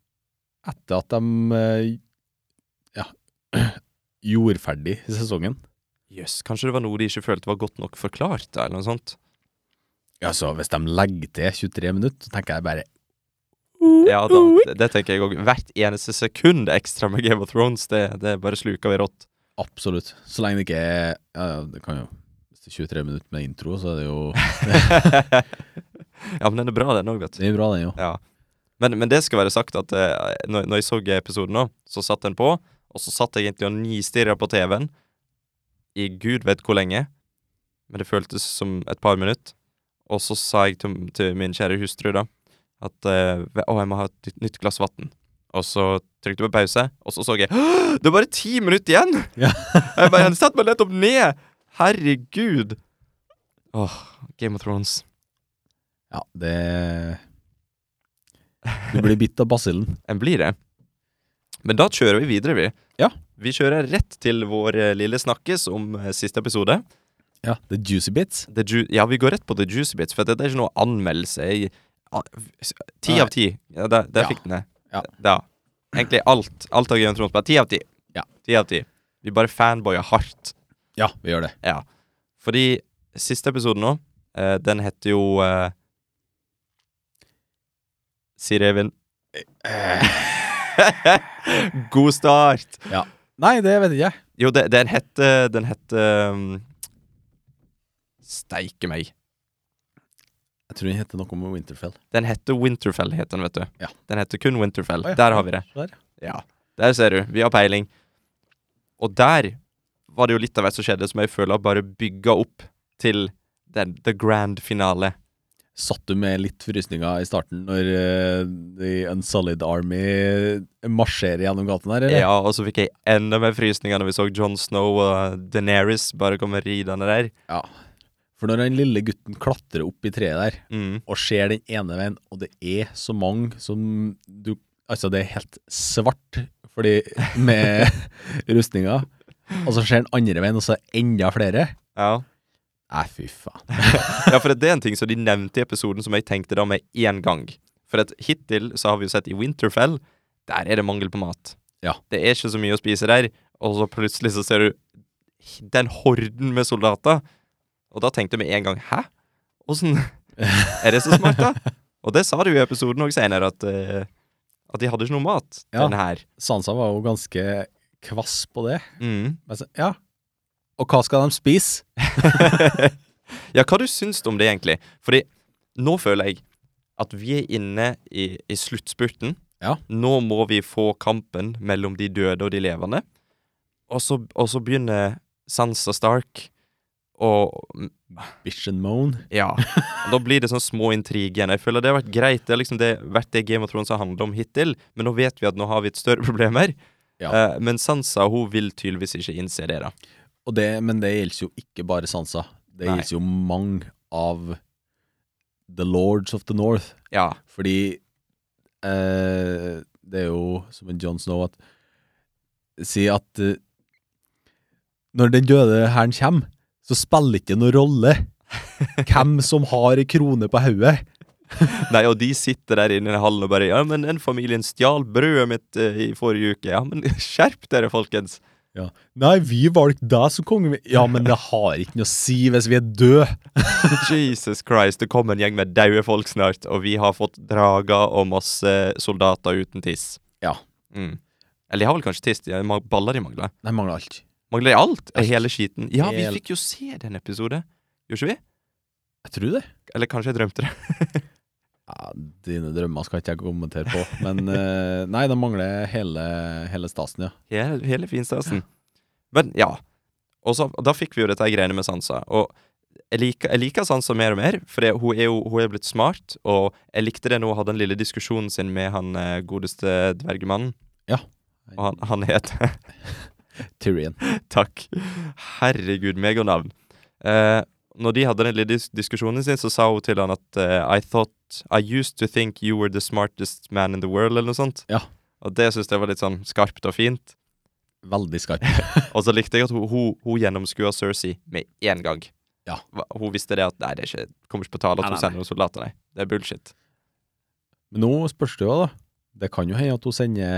B: Etter at de eh, ja, gjorde ferdig sesongen.
A: Jøss, kanskje det var noe de ikke følte var godt nok forklart, da, eller noe sånt.
B: Ja, så hvis de legger til 23 minutter, så tenker jeg bare
A: Ja da, det, det tenker jeg òg. Hvert eneste sekund ekstra med Game of Thrones, det, det bare sluker vi rått.
B: Absolutt. Så lenge det ikke er ja, ja, det kan jo, Hvis det er 23 minutter med intro, så er det jo
A: ja, men den er bra, den òg, vet du.
B: Det er bra, den jo.
A: Ja. Men, men det skal være sagt at eh, når, når jeg så episoden nå, så satt den på, og så satt jeg egentlig og nistirra på TV-en i gud vet hvor lenge, men det føltes som et par minutter. Og så sa jeg til, til min kjære hustru da at eh, ve- å, jeg må ha et nytt- nytt glass vann. Og så trykte jeg på pause, og så så jeg Det er bare ti minutter igjen!
B: Ja.
A: jeg bare jeg satte meg nettopp ned! Herregud! Åh, Game of Thrones.
B: Ja, det Du blir bitt av basillen.
A: enn blir det. Men da kjører vi videre, vi.
B: Ja.
A: Vi kjører rett til vår eh, lille snakkes om eh, siste episode.
B: Ja, the juicy bits.
A: The ju ja, vi går rett på The Juicy Bits, for dette er ikke noe anmeldelse. Jeg, a- s- ti
B: Nei.
A: av ti. Ja, der der
B: Ja.
A: fikk den det.
B: Ja.
A: Da. Egentlig alt. Alt av Game of Thrones. Bare ti av ti.
B: Ja.
A: Ti av ti. Vi bare fanboyer hardt.
B: Ja, vi gjør det.
A: Fordi siste episoden nå, eh, den heter jo eh, Siri Evin.
B: eh.
A: God start!
B: Nei, det vet jeg ikke.
A: Jo, det, den het eh, Den het um, Steike meg.
B: Jeg tror den heter noe med Winterfell.
A: Den heter Winterfell, heter den, vet du.
B: Ja.
A: Den heter kun Winterfell.
B: Å ja.
A: Der har vi det.
B: Der.
A: Ja. Der ser du. Vi har peiling. Og der var det jo litt av hvert som skjedde, som jeg føler bare bygga opp til den, the grand finale.
B: Satt du med litt frysninger i starten når eh, The Unsolid Army marsjerer gjennom gaten her, eller?
A: Ja, E og så fikk jeg enda mer frysninger når vi så Jon Snow og Daenerys bare komme ridende der.
B: For når den lille gutten klatrer opp i treet der,
A: Mm.
B: og ser den ene veien, og det er så mange som du Altså, det er helt svart fordi med rustninga, og så ser den andre veien, og så er det enda flere.
A: Ja.
B: Nei, fy faen.
A: Ja, for det er en ting som de nevnte i episoden som jeg tenkte da med én gang. For at hittil så har vi jo sett i Winterfell, der er det mangel på mat.
B: Ja.
A: Det er ikke så mye å spise der, og så plutselig så ser du den horden med soldater. Og da tenkte jeg med en gang Hæ? Åssen Er det så smart, da? Og det sa de jo i episoden òg senere, at, eh, at de hadde ikke noe mat,
B: Ja.
A: den her.
B: Sansa var jo ganske kvass på det.
A: Mm.
B: Men så, ja. Og hva skal de spise?
A: ja, hva du syns om det egentlig? Fordi nå føler jeg at vi er inne i, i sluttspurten.
B: Ja.
A: Nå må vi få kampen mellom de døde og de levende. Og så, og så begynner Sansa Stark og
B: Bitch and moan.
A: Ja. Da blir det sånne små intriger igjen. Jeg føler det har vært greit. Det har liksom det, vært det Game of Thrones har handla om hittil, men nå vet vi at nå har vi et større problem her.
B: Ja.
A: Eh, men Sansa hun vil tydeligvis ikke innse det, da.
B: Og det, men det gjelder jo ikke bare Sansa. Det
A: Nei.
B: gjelder jo mange av The Lords of the North.
A: Ja.
B: Fordi eh, det er jo som en John Snow at Si at eh, når den døde hæren kommer, så spiller ikke det noen rolle hvem som har ei krone på hodet.
A: Nei, og de sitter der inne i hallen og bare Ja, men den familien stjal brødet mitt eh, i forrige uke. Ja, men skjerp dere, folkens!
B: Ja. Nei, vi valgte deg som konge. Ja, men det har ikke noe å si hvis vi er døde.
A: Jesus Christ, det kommer en gjeng med daue folk snart, og vi har fått drager og masse soldater uten tiss.
B: Ja.
A: Mm. Eller de har vel kanskje tiss? De har baller de mangler.
B: De mangler alt.
A: Mangler de alt? Er hele skiten? Ja, vi
B: Hel-
A: fikk jo se den episoden. Gjorde ikke vi?
B: Jeg tror det.
A: Eller kanskje jeg drømte det.
B: Ja, Dine drømmer skal ikke jeg kommentere på. Men eh, nei, de mangler hele, hele stasen, ja.
A: Hele, hele finstasen. Men ja. Og så, og da fikk vi jo dette greiene med Sansa. Og jeg liker, jeg liker Sansa mer og mer, for det, hun, er jo, hun er blitt smart. Og jeg likte det når hun hadde den lille diskusjonen sin med han eh, godeste dvergemannen.
B: Ja.
A: Og han, han heter
B: Tyrion.
A: Takk. Herregud, meganavn. Eh, når de hadde den lille dis diskusjonen sin, så sa hun til han at eh, I thought I used to think you were the smartest man in the world, eller noe sånt.
B: Ja.
A: Og det syns jeg var litt sånn skarpt og fint.
B: Veldig skarp.
A: Og så likte jeg at hun, hun, hun gjennomskua Cersei med én gang.
B: Ja.
A: Hva- Hun visste det at Nei, det er ikke, kommer ikke på tale at
B: Nei,
A: hun
B: nei,
A: sender noen soldater, nei. Det er bullshit.
B: Men nå spørs det jo, da. Det kan jo hende at hun sender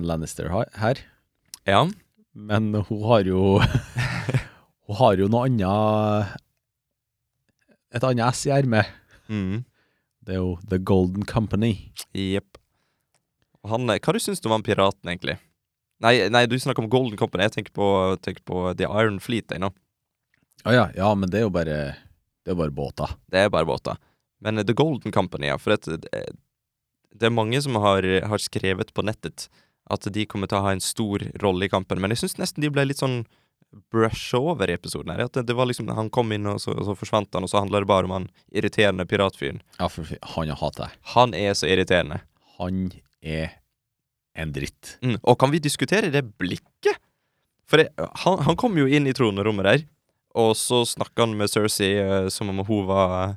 B: en Lannister ha- her,
A: Ja.
B: men hun har jo Hun har jo noe annet Et annet S i ermet.
A: Mm.
B: Det er jo The Golden Company.
A: Jepp. Og han eh, Hva du syns du om han piraten, egentlig? Nei, nei, du snakker om Golden Company. Jeg tenker på, tenker på The Iron Fleet jeg nå.
B: Å ja, ja, men det er jo bare Det er jo bare båter.
A: Det er bare båter. Men eh, The Golden Company, ja. For at, eh, det er mange som har, har skrevet på nettet at de kommer til å ha en stor rolle i kampen. Men jeg syns nesten de ble litt sånn brush over i episoden her. At det, det var liksom, Han kom inn, og så, og så forsvant han, og så handla det bare om han irriterende piratfyren.
B: Ja, for fy- han jeg hater jeg.
A: Han er så irriterende.
B: Han er en dritt.
A: Mm. Og kan vi diskutere det blikket? For det, han, han kom jo inn i tronrommet der, og så snakka han med Cersei eh, som om hun var eh,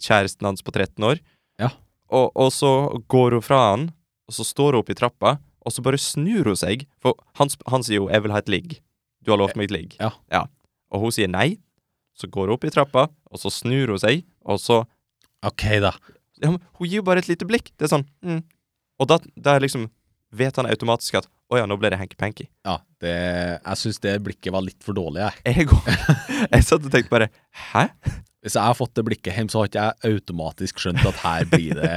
A: kjæresten hans på 13 år.
B: Ja.
A: Og, og så går hun fra han, og så står hun oppe i trappa, og så bare snur hun seg. For han, sp- han sier jo 'jeg vil ha et ligg'. Du har lovt meg et ligg.
B: Ja.
A: Og hun sier nei. Så går hun opp i trappa, og så snur hun seg, og så
B: OK, da.
A: ja, men Hun gir jo bare et lite blikk. Det er sånn mm. Og da, da er liksom vet han automatisk at 'Å ja, nå ble det hanky-panky'.
B: Ja, det, jeg syns det blikket var litt for dårlig, jeg.
A: Jeg, går- jeg satt og tenkte bare 'hæ?'
B: Hvis jeg har fått det blikket hjem, så har ikke jeg automatisk skjønt at her blir det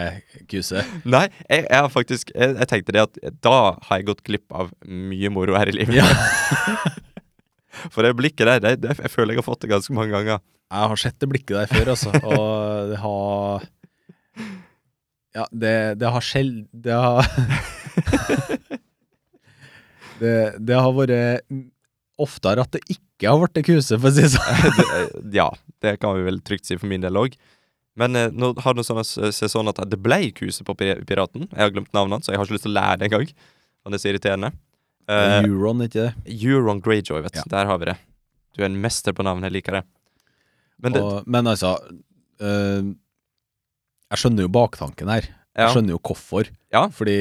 B: kuse.
A: Nei, jeg, jeg har faktisk jeg, jeg tenkte det at da har jeg gått glipp av mye moro her i livet.
B: Ja.
A: For det blikket der, det, det, jeg føler jeg har fått det ganske mange ganger.
B: Jeg har sett det blikket der før, altså, og det har Ja, det, det har skjeld... Det har det, det har vært oftere at det ikke har blitt kuse, for å si det sånn.
A: Det- eh, ja, det kan vi vel trygt si for min del òg. Men eh, nå har det sånn, seg sånn at det ble kuse på Pir- Piraten. Jeg har glemt navnet hans, så jeg har ikke lyst til å lære det engang. Og det er så irriterende. Eh,
B: Euron, ikke det?
A: Euron Greyjoy, vet du.
B: Ja.
A: Der har vi det. Du er en mester på navn, jeg liker det. Men det,
B: Og, men altså eh, Jeg skjønner jo baktanken her.
A: ja,
B: Jeg skjønner jo hvorfor.
A: Ja.
B: Fordi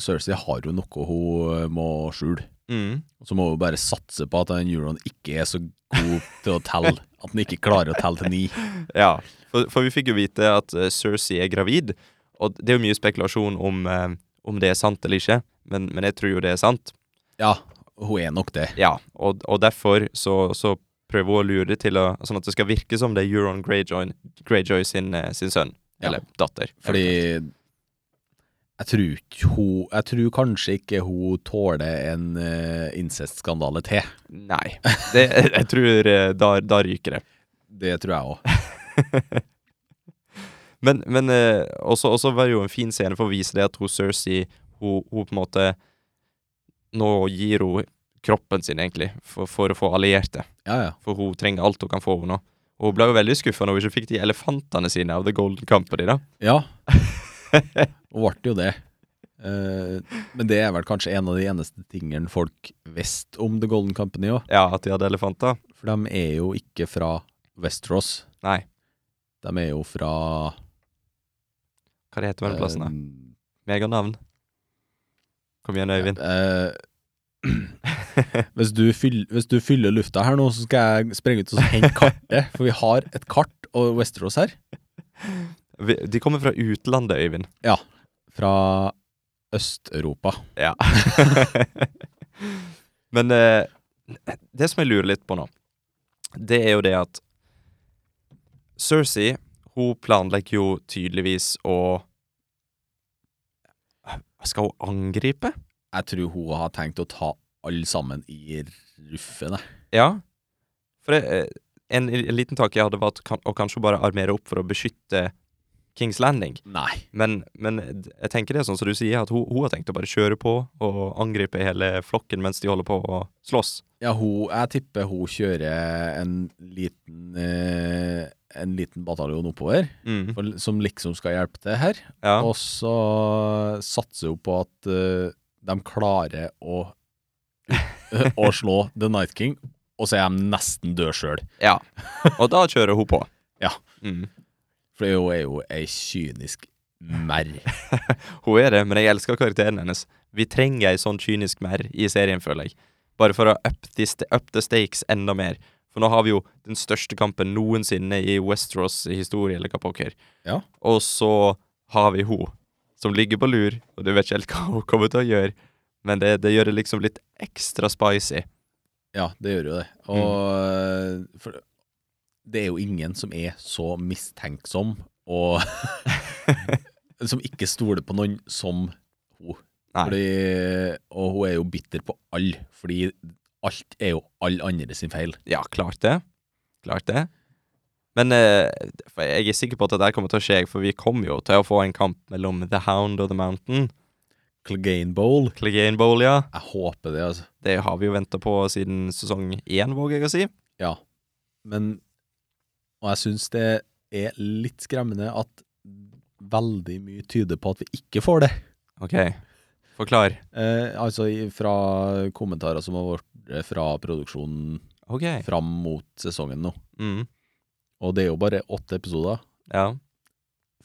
B: Cersei har jo noe hun må skjule.
A: mm,
B: Så må hun bare satse på at den Euron ikke er så god til å telle. At han ikke klarer å telle til ni.
A: ja. For, for vi fikk jo vite at eh, Cersei er gravid, og det er jo mye spekulasjon om, eh, om det er sant eller ikke, men, men jeg tror jo det er sant.
B: Ja, hun er nok det.
A: Ja, og, og derfor så, så prøver hun å lure det til å, sånn at det skal virke som det er Euron Greyjoy, Greyjoy sin, eh, sin sønn,
B: Ja.
A: eller datter.
B: Fordi jeg tror ikke hun Jeg tror kanskje ikke hun tåler en eh, incestskandale til.
A: Nei, det, jeg tror eh, da, da ryker det.
B: Det tror jeg òg.
A: Men, men eh, også, også var det jo en fin scene for å vise det at hun Cersei hun, hun på en måte Nå gir hun kroppen sin, egentlig, for, for å få allierte.
B: Ja, ja.
A: For hun trenger alt hun kan få hun nå. Og Hun ble jo veldig skuffa når hun ikke fikk de elefantene sine av The Golden Company, da.
B: Ja. Hun ble jo det. Eh, men det er vel kanskje en av de eneste tingene folk visste om The Golden Company òg.
A: Ja, at de hadde elefanter.
B: For de er jo ikke fra Westeros.
A: Nei.
B: De er jo fra
A: Hva det heter den plassen, da?
B: eh,
A: Meganavn. Kom igjen, Øyvind.
B: eh, hvis, du fyll, hvis du fyller lufta her nå, så skal jeg sprenge ut og hente kartet. For vi har et kart og Westeros her.
A: Vi- De kommer fra utlandet, Øyvind.
B: Fra Øst-Europa.
A: Ja. Men eh, det som jeg lurer litt på nå, det er jo det at Cersei, hun planlegger jo tydeligvis å Skal hun angripe?
B: Jeg tror hun har tenkt å ta alle sammen i ruffen. jeg.
A: Ja. For det, eh, en, en liten tanke jeg hadde, var at kan, å kanskje bare armere opp for å beskytte Kings Landing.
B: Nei.
A: Men, men d- jeg tenker det er sånn som du sier, at hun, hun har tenkt å bare kjøre på og angripe hele flokken mens de holder på å slåss.
B: Ja, hun, jeg tipper hun kjører en liten eh, En liten bataljon oppover,
A: Mm.
B: for, som liksom skal hjelpe til her.
A: Ja.
B: Og så satser hun på at eh, de klarer å Å slå The Night King, og så er de nesten døde sjøl.
A: Ja. Og da kjører hun på.
B: Ja.
A: Mm.
B: For hun er jo ei kynisk merr.
A: Hun er det, men jeg elsker karakteren hennes. Vi trenger ei sånn kynisk mer i serien, føler jeg. Bare for å up the, st- up the stakes enda mer. For nå har vi jo den største kampen noensinne i Westeros historie, eller hva pokker.
B: Ja.
A: Og så har vi hun, som ligger på lur, og du vet ikke helt hva hun kommer til å gjøre. Men det, det gjør det liksom litt ekstra spicy.
B: Ja, det gjør jo det. Og eh, for, det er jo ingen som er så mistenksom og Som ikke stoler på noen som hun.
A: Nei.
B: Fordi, og hun er jo bitter på alle, fordi alt er jo alle andre sin feil.
A: Ja, klart det. Klart det. Men eh, for jeg er sikker på at det der kommer til å skje, for vi kommer jo til å få en kamp mellom The Hound og The Mountain.
B: Clegane Bowl.
A: Clegane Bowl, ja.
B: Jeg håper det, altså.
A: Det har vi jo venta på siden sesong én, våger jeg å si.
B: Ja. Men Og jeg syns det er litt skremmende at veldig mye tyder på at vi ikke får det.
A: OK, forklar.
B: Eh, altså i- fra kommentarer som har vært eh, fra produksjonen
A: OK.
B: fram mot sesongen nå.
A: Mm,
B: Og det er jo bare åtte episoder.
A: ja.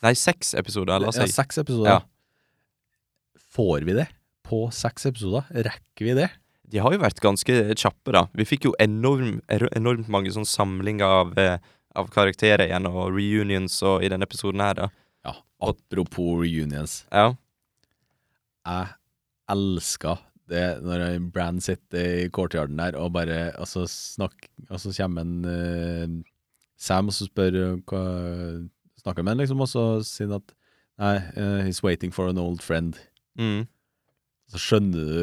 A: Nei, seks episoder, la oss
B: Ja,
A: si.
B: seks episoder.
A: Ja.
B: Får vi det på seks episoder? Rekker vi det?
A: De har jo vært ganske kjappe, da. Vi fikk jo enorm, er- enormt mange sånn samlinger av, eh, av karakterer igjen, og reunions og i denne episoden her, da.
B: Ja, apropos reunions.
A: Ja.
B: Jeg elsker det når en Brand sitter i courtyarden der og bare altså snakk, og så kommer en eh, Sam og så spør eh, hva snakker med han, liksom, og så sier han at Nei, eh, he's waiting for an old friend.
A: Mm.
B: Så skjønner du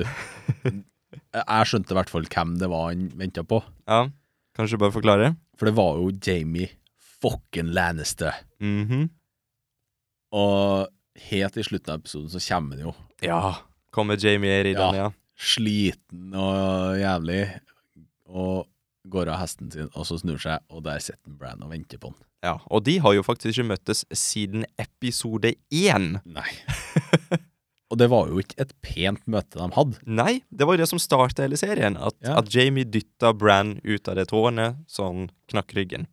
B: Jeg skjønte i hvert fall hvem det var han venta på.
A: Ja. Kanskje bare forklare?
B: For det var jo Jamie fucking Lannister.
A: Mhm.
B: Og helt i slutten av episoden så kommer han jo
A: Ja. Kommer Jamie Eyre i
B: Ja.
A: den, ja.
B: sliten og jævlig og går av hesten sin, og så snur seg, og der sitter Bran og venter på han.
A: ja. Og de har jo faktisk ikke møttes siden episode én.
B: Nei. og det var jo ikke et pent møte de hadde.
A: Nei, det var jo det som starta hele serien. At,
B: Ja.
A: at Jamie dytta Bran ut av det tårnet, så han knakk ryggen.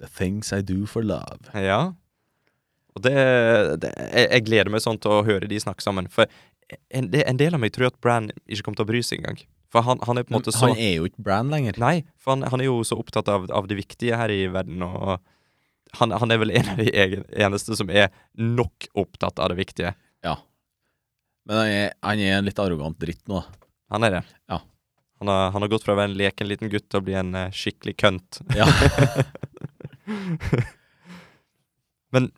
B: The things I do for love.
A: Ja. Og det, det jeg, jeg gleder meg sånn til å høre de snakke sammen. For en, de- en del av meg tror at Bran ikke kommer til å bry seg engang. For han, han er på en måte så
B: Han er jo ikke Bran lenger.
A: Nei, for han, han er jo så opptatt av, av det viktige her i verden, og han, han er vel en av de egen, eneste som er nok opptatt av det viktige.
B: Ja. Men han er, han er en litt arrogant dritt nå.
A: Han er det.
B: Ja.
A: Han har, han har gått fra å være en leken liten gutt til å bli en eh, skikkelig kønt.
B: Ja.
A: Men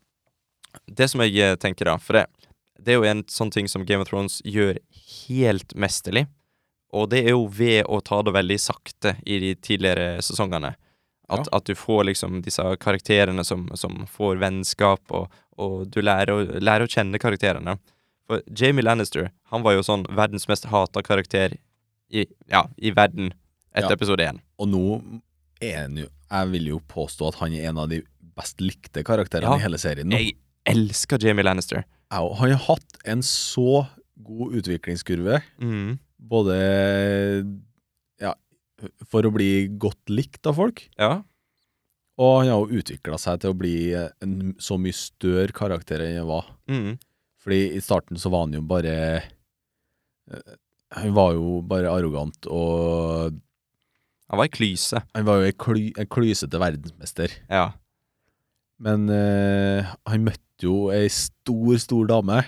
A: det som jeg eh, tenker, da For det, det er jo en sånn ting som Game of Thrones gjør helt mesterlig. Og det er jo ved å ta det veldig sakte i de tidligere sesongene. At,
B: Ja.
A: at du får liksom disse karakterene som, som får vennskap, og, og du lærer å, lærer å kjenne karakterene. For Jamie Lannister han var jo sånn verdens mest hata karakter i, ja, i verden etter
B: Ja.
A: episode én.
B: Og nå er han jo Jeg vil jo påstå at han er en av de best likte karakterene
A: Ja.
B: i hele serien nå.
A: Jeg elsker Jamie Lannister.
B: Au, Han har hatt en så god utviklingskurve,
A: Mm.
B: både ja, for å bli godt likt av folk,
A: Ja.
B: og han har jo utvikla seg til å bli en så mye større karakter enn han var.
A: Mm.
B: Fordi i starten så var han jo bare eh, Han var jo bare arrogant, og
A: Han var ei klyse.
B: han var jo en, kly, en klysete verdensmester.
A: Ja.
B: Men eh, han møtte jo ei stor, stor dame.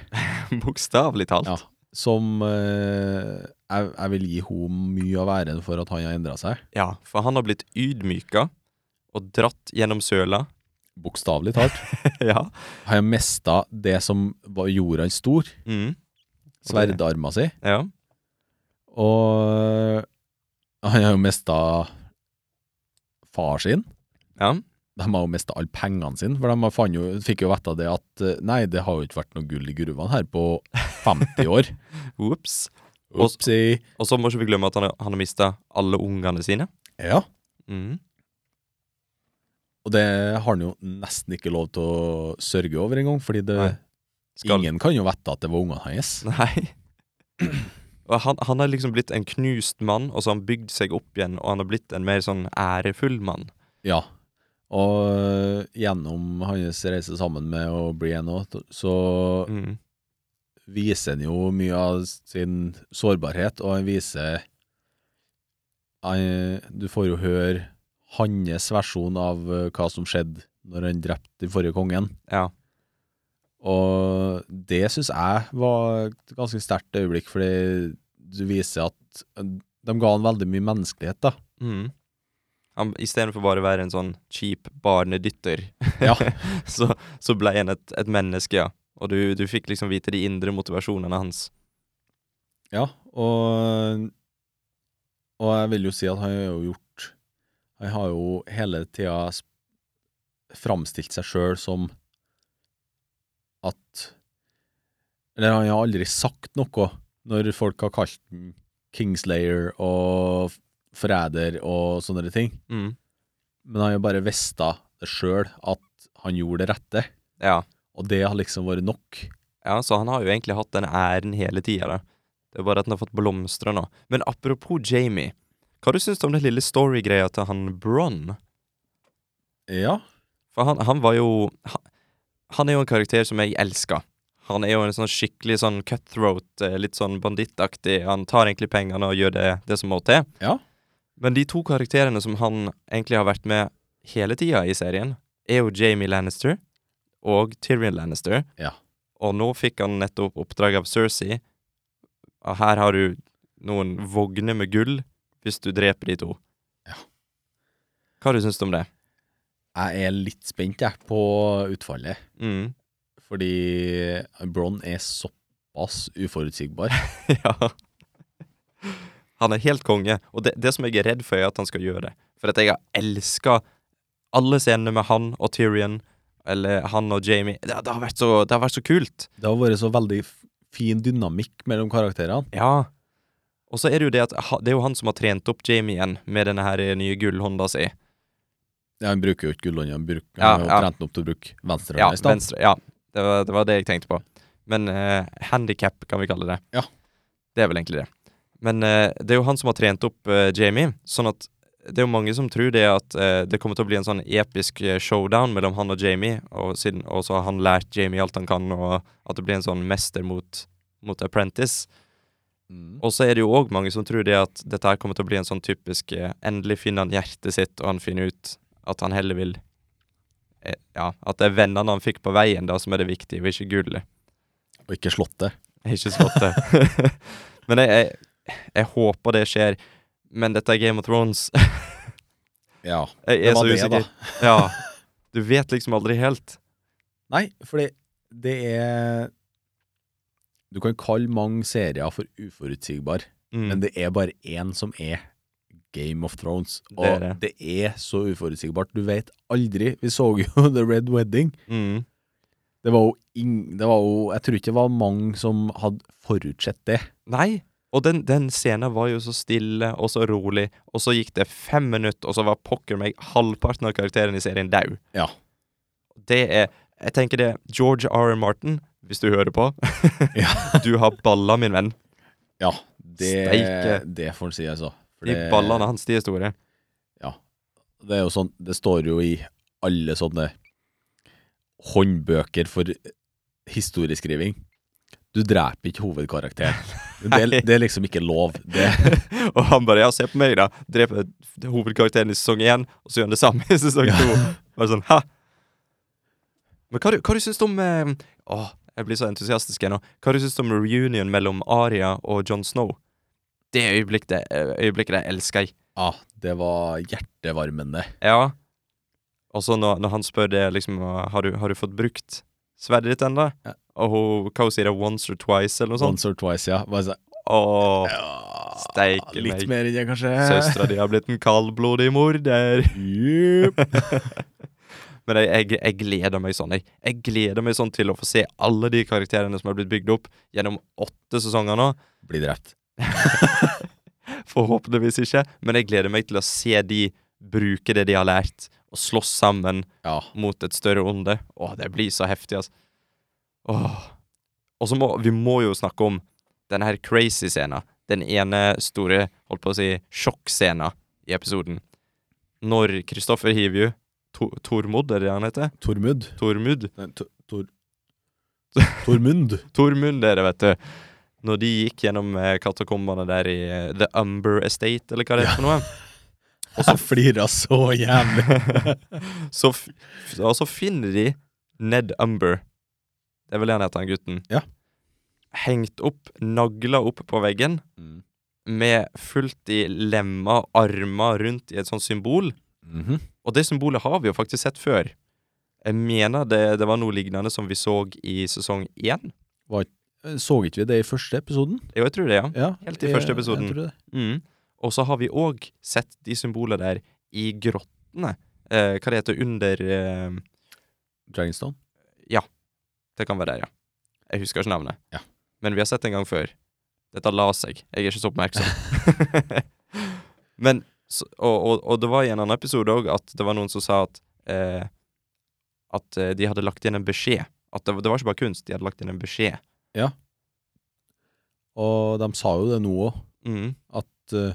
A: Bokstavelig talt.
B: Ja. som eh, jeg, jeg vil gi henne mye av æren for at han har endra seg.
A: Ja, for han har blitt ydmyka og dratt gjennom søla.
B: Bokstavelig talt.
A: ja.
B: Han har mista det som var, gjorde han stor,
A: Mm.
B: sverdarma si,
A: ja.
B: og han har jo mista far sin.
A: Ja.
B: De har jo mista alle pengene sine, for de har fant jo, fikk jo vite det at eh, nei, det har jo ikke vært noe gull i gruvene her på 50 år.
A: Ops. Og-
B: Opsi.
A: Og så må ikke vi glemme at han, har- han har mista alle ungene sine.
B: Ja.
A: Mm.
B: Og det har han jo nesten ikke lov til å sørge over engang, fordi det
A: Nei. Skal-
B: Ingen kan jo vite at det var ungene hans.
A: Nei. Og han, han har liksom blitt en knust mann, og så har han bygd seg opp igjen, og han har blitt en mer sånn ærefull mann.
B: Ja. Og eh, gjennom hans reise sammen med å bli en òg, så
A: Mm.
B: viser han jo mye av sin sårbarhet, og han viser han, Du får jo høre hans versjon av eh, hva som skjedde når han drepte den forrige kongen.
A: Ja.
B: Og det syns jeg var et ganske sterkt øyeblikk, fordi du viser at eh, de ga han veldig mye menneskelighet, da.
A: Mm. Han, Istedenfor bare å være en sånn kjip barnedytter,
B: Ja.
A: så, så ble han et, et menneske, ja. Og du, du fikk liksom vite de indre motivasjonene hans.
B: Ja, og, og jeg vil jo si at han har jo gjort Han har jo hele tida sp- framstilt seg sjøl som at Eller han har aldri sagt noe når folk har kalt ham Kingslayer og f- forræder og sånne ting.
A: Mm.
B: Men han har jo bare visst det sjøl at han gjorde det rette,
A: Ja.
B: og det har liksom vært nok.
A: Ja, så han har jo egentlig hatt den æren hele tida, da. Det er bare at han har fått blomstre nå. Men apropos Jamie, hva du syns du om den lille storygreia til han Bron?
B: Ja.
A: For han, han var jo han, han er jo en karakter som jeg elsker. Han er jo en sånn skikkelig sånn cutthroat, eh, litt sånn bandittaktig. Han tar egentlig pengene og gjør det, det som må til.
B: Ja.
A: Men de to karakterene som han egentlig har vært med hele tida i serien, er jo Jamie Lannister og Tyrion Lannister.
B: Ja.
A: Og nå fikk han nettopp oppdrag av Cersei. Og her har du noen vogner med gull hvis du dreper de to.
B: Ja.
A: Hva har du syns du om det?
B: Jeg er litt spent jeg, på utfallet,
A: Mm.
B: fordi Bron er såpass uforutsigbar.
A: Ja. Han er helt konge, og det, det som jeg er redd for, er at han skal gjøre det. For at jeg har elska alle scenene med han og Tyrion, eller han og Jamie. Det, det, har, vært så, det har vært så kult.
B: Det har vært så veldig f- fin dynamikk mellom karakterene.
A: Ja. Og så er det jo det at ha- det er jo han som har trent opp Jamie igjen med denne her nye gullhånda si.
B: Ja, han bruker jo ikke gullhånda, han, bruker,
A: Ja,
B: han har jo
A: ja.
B: trent den opp til å bruke
A: Ja,
B: venstrehånda i stedet.
A: venstre, ja. Det, var, det var det jeg tenkte på. Men uh, handikap kan vi kalle det.
B: Ja.
A: Det er vel egentlig det. Men eh, det er jo han som har trent opp eh, Jamie, sånn at det er jo mange som tror det at eh, det kommer til å bli en sånn episk eh, showdown mellom han og Jamie, og, siden, og så har han lært Jamie alt han kan, og at det blir en sånn mester mot, mot apprentice.
B: Mm.
A: Og så er det jo òg mange som tror det at dette her kommer til å bli en sånn typisk eh, Endelig finner han hjertet sitt, og han finner ut at han heller vil eh, Ja, at det er vennene han fikk på veien, da, som er det viktige, og ikke gullet.
B: Og ikke slåttet.
A: Ikke slottet. men jeg, jeg, jeg håper det skjer. Men dette er Game of Thrones.
B: Ja.
A: Jeg
B: Det
A: er så
B: var det,
A: usikker. ja. Du vet liksom aldri helt.
B: Nei, fordi det er Du kan kalle mange serier for uforutsigbar,
A: Mm.
B: men det er bare én som er Game of Thrones. Og
A: Det er
B: det er,
A: det.
B: så uforutsigbart. Du vet aldri. Vi så jo The Red Wedding.
A: Mm.
B: Det var jo ing... Det var jo Jeg tror ikke det var mange som hadde forutsett det.
A: Nei. Og den, den scenen var jo så stille og så rolig, og så gikk det fem minutter, og så var pokker meg halvparten av karakteren i serien daud.
B: Ja.
A: Det er Jeg tenker det er George R. R. Martin, hvis du hører på. du har balla, min venn.
B: Ja. Det,
A: Steike.
B: det får en si, altså. For
A: De
B: det-
A: ballene hans, de er store.
B: Det er jo sånn, det står jo i alle sånne håndbøker for historieskriving. Du dreper ikke hovedkarakteren. Det, er-
A: Nei.
B: det er liksom ikke lov. Det,
A: og han bare Ja, se på meg, da. Dreper hovedkarakteren i sesong én, og så gjør han det samme i sesong
B: Ja.
A: to. Bare sånn, hæ? Men hva, du- hva du syns du om eh, Åh, jeg blir så entusiastisk ennå. Hva du syns du om reunion mellom Aria og Jon Snow? Det øyeblikket, øyeblikket jeg elsker jeg.
B: ja, det var hjertevarmende.
A: Ja. Og så når, når han spør det, liksom Har du, har du fått brukt sverdet ditt ennå?
B: Ja.
A: Og hun, hva hun sier det, once or twice, eller noe sånt?
B: Once or twice, ja. Bare så,
A: Åh,
B: ja
A: Steike
B: litt
A: meg.
B: mer enn det, kanskje.
A: søstera di har blitt en kaldblodig morder.
B: Jupp.
A: Men jeg, jeg, jeg gleder meg sånn. Jeg, jeg gleder meg sånn til å få se alle de karakterene som har blitt bygd opp gjennom åtte sesonger nå.
B: Blir drept.
A: Forhåpentligvis ikke, men jeg gleder meg til å se de bruke det de har lært, og slåss sammen
B: Ja.
A: mot et større onde. Åh, det blir så heftig, altså. Åh. Og så må vi må jo snakke om denne her crazy scenen. Den ene store, holdt på å si, sjokkscenen i episoden. Når Kristoffer Hivju, Tor Tormod er det han heter?
B: Tormud.
A: Tormud?
B: Nei, Tor- Tor... Tormund.
A: Tormund, dere, vet du. Når de gikk gjennom eh, katakombene der i eh, The Umber Estate, eller hva det heter for noe.
B: Jeg flira så jævlig.
A: Så, f f- og så finner de Ned Umber. Det er vel det han heter, han gutten.
B: Ja.
A: Hengt opp, nagla opp på veggen,
B: Mm.
A: med fullt i lemmer, armer rundt i et sånt symbol.
B: Mhm.
A: Og det symbolet har vi jo faktisk sett før. Jeg mener det, det var noe lignende som vi så i sesong én.
B: Eh, Så ikke vi det i første episoden?
A: Jo, jeg tror det, ja.
B: Ja,
A: Helt i første
B: jeg-
A: episoden.
B: Jeg tror det.
A: Mm. Og så har vi òg sett de symbolene der i grottene. Eh, hva det heter under eh,
B: Dragonstone.
A: Det kan være der, ja. Jeg husker ikke navnet.
B: Ja.
A: Men vi har sett det en gang før. Dette la seg. Jeg er ikke så oppmerksom. Men, så, og, og, og det var i en annen episode òg at det var noen som sa at eh, At eh, de hadde lagt inn en beskjed. At det, var- det var ikke bare kunst, de hadde lagt inn en beskjed.
B: Og de sa jo det nå òg,
A: Mm.
B: at eh,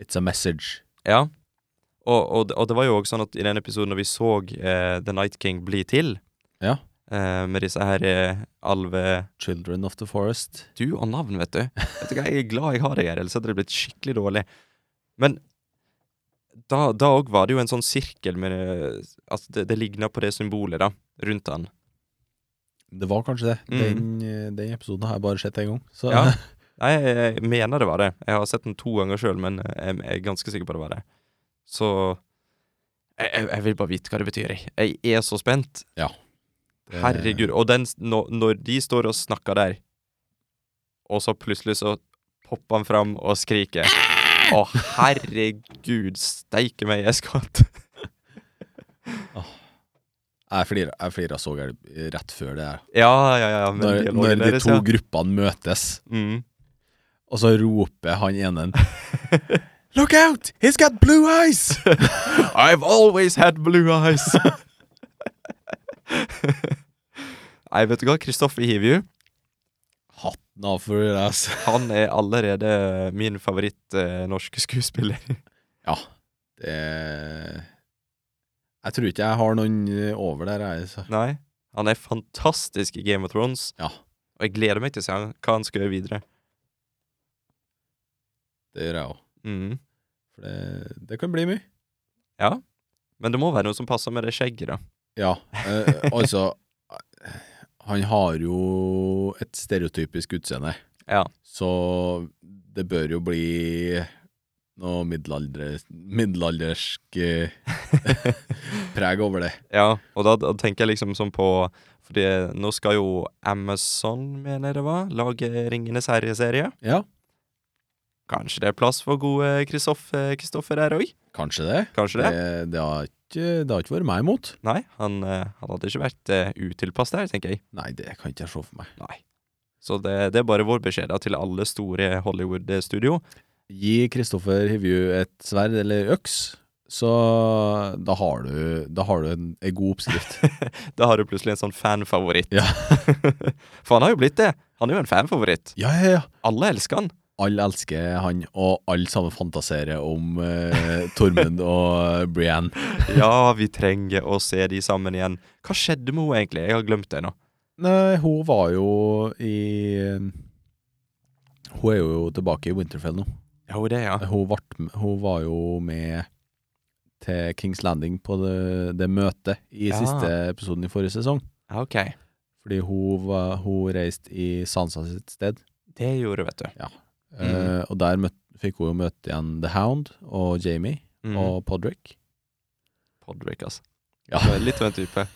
B: it's a message.
A: Ja. Og, og, det- og det var jo òg sånn at i den episoden når vi så eh, The Night King bli til,
B: Ja.
A: eh, med disse her eh, alve...
B: Children of the forest.
A: Du og navn, vet du. Vet du hva, Jeg er glad jeg har deg her, ellers hadde det blitt skikkelig dårlig. Men da da òg var det jo en sånn sirkel med eh, Altså, det, det ligna på det symbolet, da, rundt han.
B: Det var kanskje det.
A: Mm.
B: Den, eh, den episoden har jeg bare sett én gang. Så
A: Ja. Nei, jeg, jeg mener det var det. Jeg har sett den to ganger sjøl, men eh, jeg, jeg er ganske sikker på det var det. Så Jeg, jeg, jeg vil bare vite hva det betyr. jeg. Jeg er så spent.
B: Det-
A: Herregud. Og den, s- nå- når de står og snakker der, og så plutselig så popper han fram og skriker Å, herregud, steike meg, jeg skvatt.
B: Eh, Jeg flirer jeg flirer så gærent eh, rett før det her.
A: Ja, ja, ja. Men
B: Når, når
A: dialogen
B: de
A: deres,
B: to
A: ja.
B: gruppene møtes,
A: Mm.
B: og så roper han ene Look out! He's got blue eyes!
A: I've always had blue eyes. Nei, vet du hva? Kristoffer Hivju,
B: Hatten av for det, altså.
A: han er allerede min favoritt eh, norske skuespiller.
B: Ja. Det Jeg tror ikke jeg har noen eh, over der, jeg. Så.
A: Nei, han er fantastisk i Game of Thrones.
B: Ja.
A: Og jeg gleder meg til å se han- hva han skal gjøre videre.
B: Det gjør jeg òg.
A: Mm.
B: For det, det kan bli mye.
A: Men det må være noe som passer med det skjegget, da.
B: Ja. Eh, altså eh, Han har jo et stereotypisk utseende,
A: Ja.
B: så det bør jo bli noe middelalder, middelaldersk eh, preg over det.
A: Ja, og da, da tenker jeg liksom sånn på Fordi nå skal jo Amazon, mener jeg det var, lage Ringenes herre-serie.
B: Ja,
A: Kanskje det er plass for gode Kristoffer Kristoffer her òg?
B: kanskje det.
A: Kanskje
B: Det,
A: det?
B: det, har ikke, det har ikke vært meg imot.
A: Nei, han, eh, han hadde ikke vært eh, utilpass der, tenker jeg.
B: Nei, det kan ikke jeg se for meg.
A: Nei. Så det, det er bare vår beskjed da, til alle store Hollywood-studio.
B: Gi Kristoffer Hivju et sverd eller øks, så da har du, da har du en, en god oppskrift.
A: Da har du plutselig en sånn fanfavoritt.
B: Ja.
A: For han har jo blitt det. Han er jo en fanfavoritt.
B: ja, ja, ja.
A: Alle elsker han.
B: Alle elsker han, og alle sammen fantaserer om eh, Tormund og eh, Brienne.
A: Ja, vi trenger å se de sammen igjen. Hva skjedde med henne egentlig? Jeg har glemt det nå.
B: Nei, hun var jo i Hun er jo tilbake i Winterfell nå.
A: Ja, hun er det, ja.
B: Hun, vart, med- hun var jo med til Kings Landing på det, det møtet i
A: Ja.
B: siste episoden i forrige sesong.
A: Ja, Ok.
B: Fordi hun, var, hun reiste i Sansa sitt sted.
A: Det gjorde hun, vet du. Mm.
B: Eh, og der møt, fikk hun jo møte igjen The Hound og Jamie
A: Mm.
B: og Podrick.
A: Podrick, altså.
B: Ja.
A: Det er Litt av en type.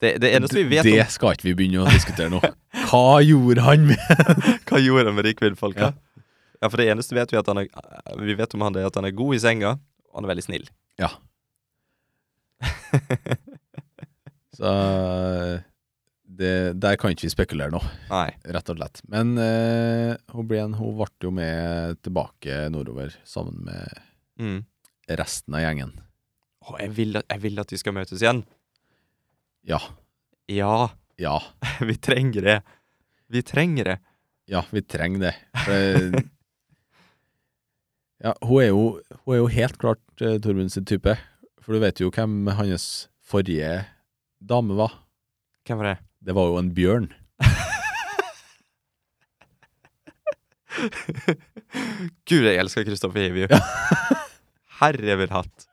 A: Det, det eneste vi vet
B: det skal ikke vi begynne å diskutere nå. Hva gjorde han med
A: om Hva gjorde han med de kvinnfolka?
B: Ja.
A: Ja. for det eneste vet vi, at han er, vi vet om han, det er at han er god i senga, og han er veldig snill.
B: Ja. Så eh, det, der kan ikke vi spekulere nå,
A: Nei.
B: rett og slett. Men eh, hun Brienne hun ble jo med tilbake nordover sammen med
A: Mm.
B: resten av gjengen.
A: Å, jeg, vil at, jeg vil at de skal møtes igjen.
B: Ja.
A: Ja,
B: Ja.
A: vi trenger det. Vi trenger det.
B: Ja, vi trenger det. For det ja, hun, er jo, hun er jo helt klart eh, Tormund sin type. For du vet jo hvem hans forrige dame var.
A: Hvem var det?
B: Det var jo en bjørn.
A: Gud, jeg elsker Kristoffer Hivju. Herre vil hatt.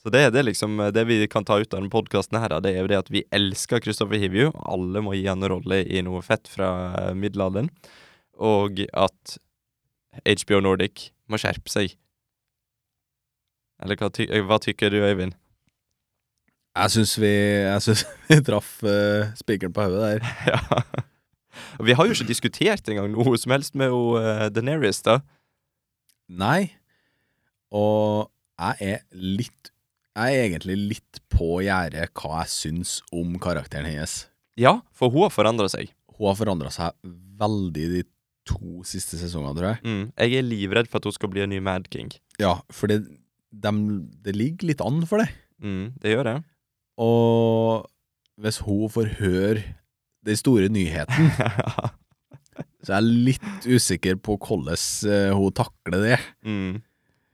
A: Så det, det er liksom eh, det vi kan ta ut av denne podkasten, her, da, det er jo det at vi elsker Kristoffer Hivju. Alle må gi han en rolle i noe fett fra eh, middelalderen. Og at HBO Nordic må skjerpe seg. Eller hva, ty eh, hva tykker du, Øyvind?
B: Jeg syns vi, jeg synes vi traff eh, spikeren på hodet der.
A: ja. Vi har jo ikke diskutert engang noe som helst med jo, eh, Daenerys, da.
B: Nei. Og jeg er litt Jeg er egentlig litt på gjerdet hva jeg syns om karakteren hennes.
A: Ja, for hun har forandra seg.
B: Hun har forandra seg veldig de to siste sesongene, tror jeg.
A: Mm. Jeg er livredd for at hun skal bli en ny Mad King.
B: Ja, for det, dem- det ligger litt an for det.
A: Mm, det gjør jeg.
B: Og hvis hun får høre den store nyheten, så er jeg litt usikker på hvordan eh, hun takler det.
A: mm.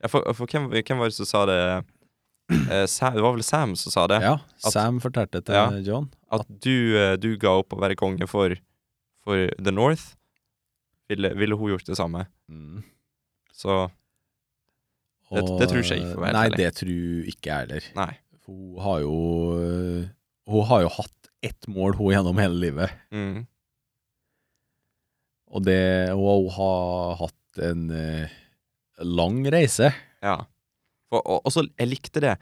A: ja, for, for hvem, hvem var det som sa det eh, Sam, Det var vel Sam som sa det?
B: Ja, Sam fortalte til
A: Ja.
B: John.
A: At du, eh, du ga opp å være konge for, for The North. Ville, ville hun gjort det samme? Så Mm. Det-
B: Og-
A: det tror ikke jeg, for å være helt
B: Nei,
A: ærlig.
B: det tror ikke jeg heller.
A: nei.
B: Hun har jo eh, Hun har jo hatt ett mål hun gjennom hele livet,
A: Mm.
B: og det, hun har hatt en eh, lang reise.
A: Ja. For Og, og, og så jeg likte det.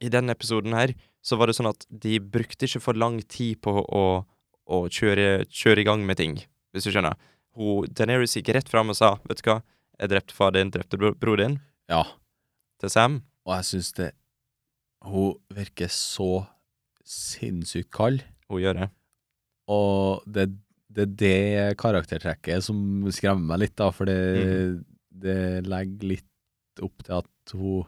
A: I denne episoden her så var det sånn at de brukte ikke for lang tid på å, å kjøre, kjøre i gang med ting, hvis du skjønner. Hun, Daenerys gikk rett fram og sa, vet du hva, jeg drepte far din, drepte bro bror din,
B: Ja.
A: til Sam.
B: Og jeg syns det Hun virker så sinnssykt kald,
A: Hun gjør det.
B: og det, det er det karaktertrekket som skremmer meg litt, da, for det, det legger litt opp til at hun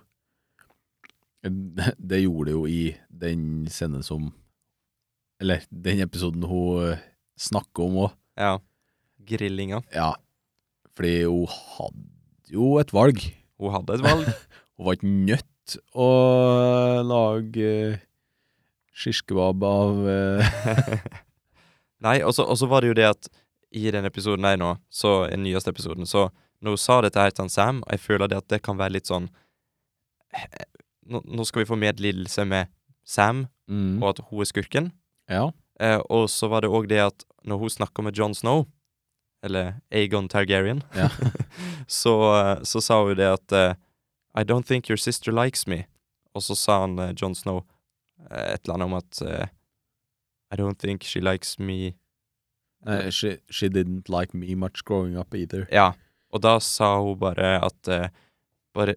B: Det gjorde det jo i den scenen som Eller den episoden hun eh, snakker om òg.
A: Ja. Grillinga.
B: Ja, fordi hun hadde jo et valg.
A: Hun hadde et valg.
B: Hun var ikke nødt å lage eh, shishkebab av eh,
A: Nei, og så og så var det jo det at i den episoden her nå, så, i den nyeste episoden, så når hun sa dette her til han Sam, og jeg føler det at det kan være litt sånn eh, Nå, nå skal vi få medlidelse med Sam,
B: Mm.
A: og at hun er skurken.
B: Ja.
A: Eh, og så var det òg det at når hun snakker med John Snow, eller Aegon Targaryen,
B: Ja.
A: så, eh, så sa hun det at eh, I don't think your sister likes me. Og så sa han eh, John Snow eh, et eller annet om at eh, I don't think she likes me
B: Nei, she, she didn't like me much growing up either.
A: Ja, og da sa hun bare at eh, Bare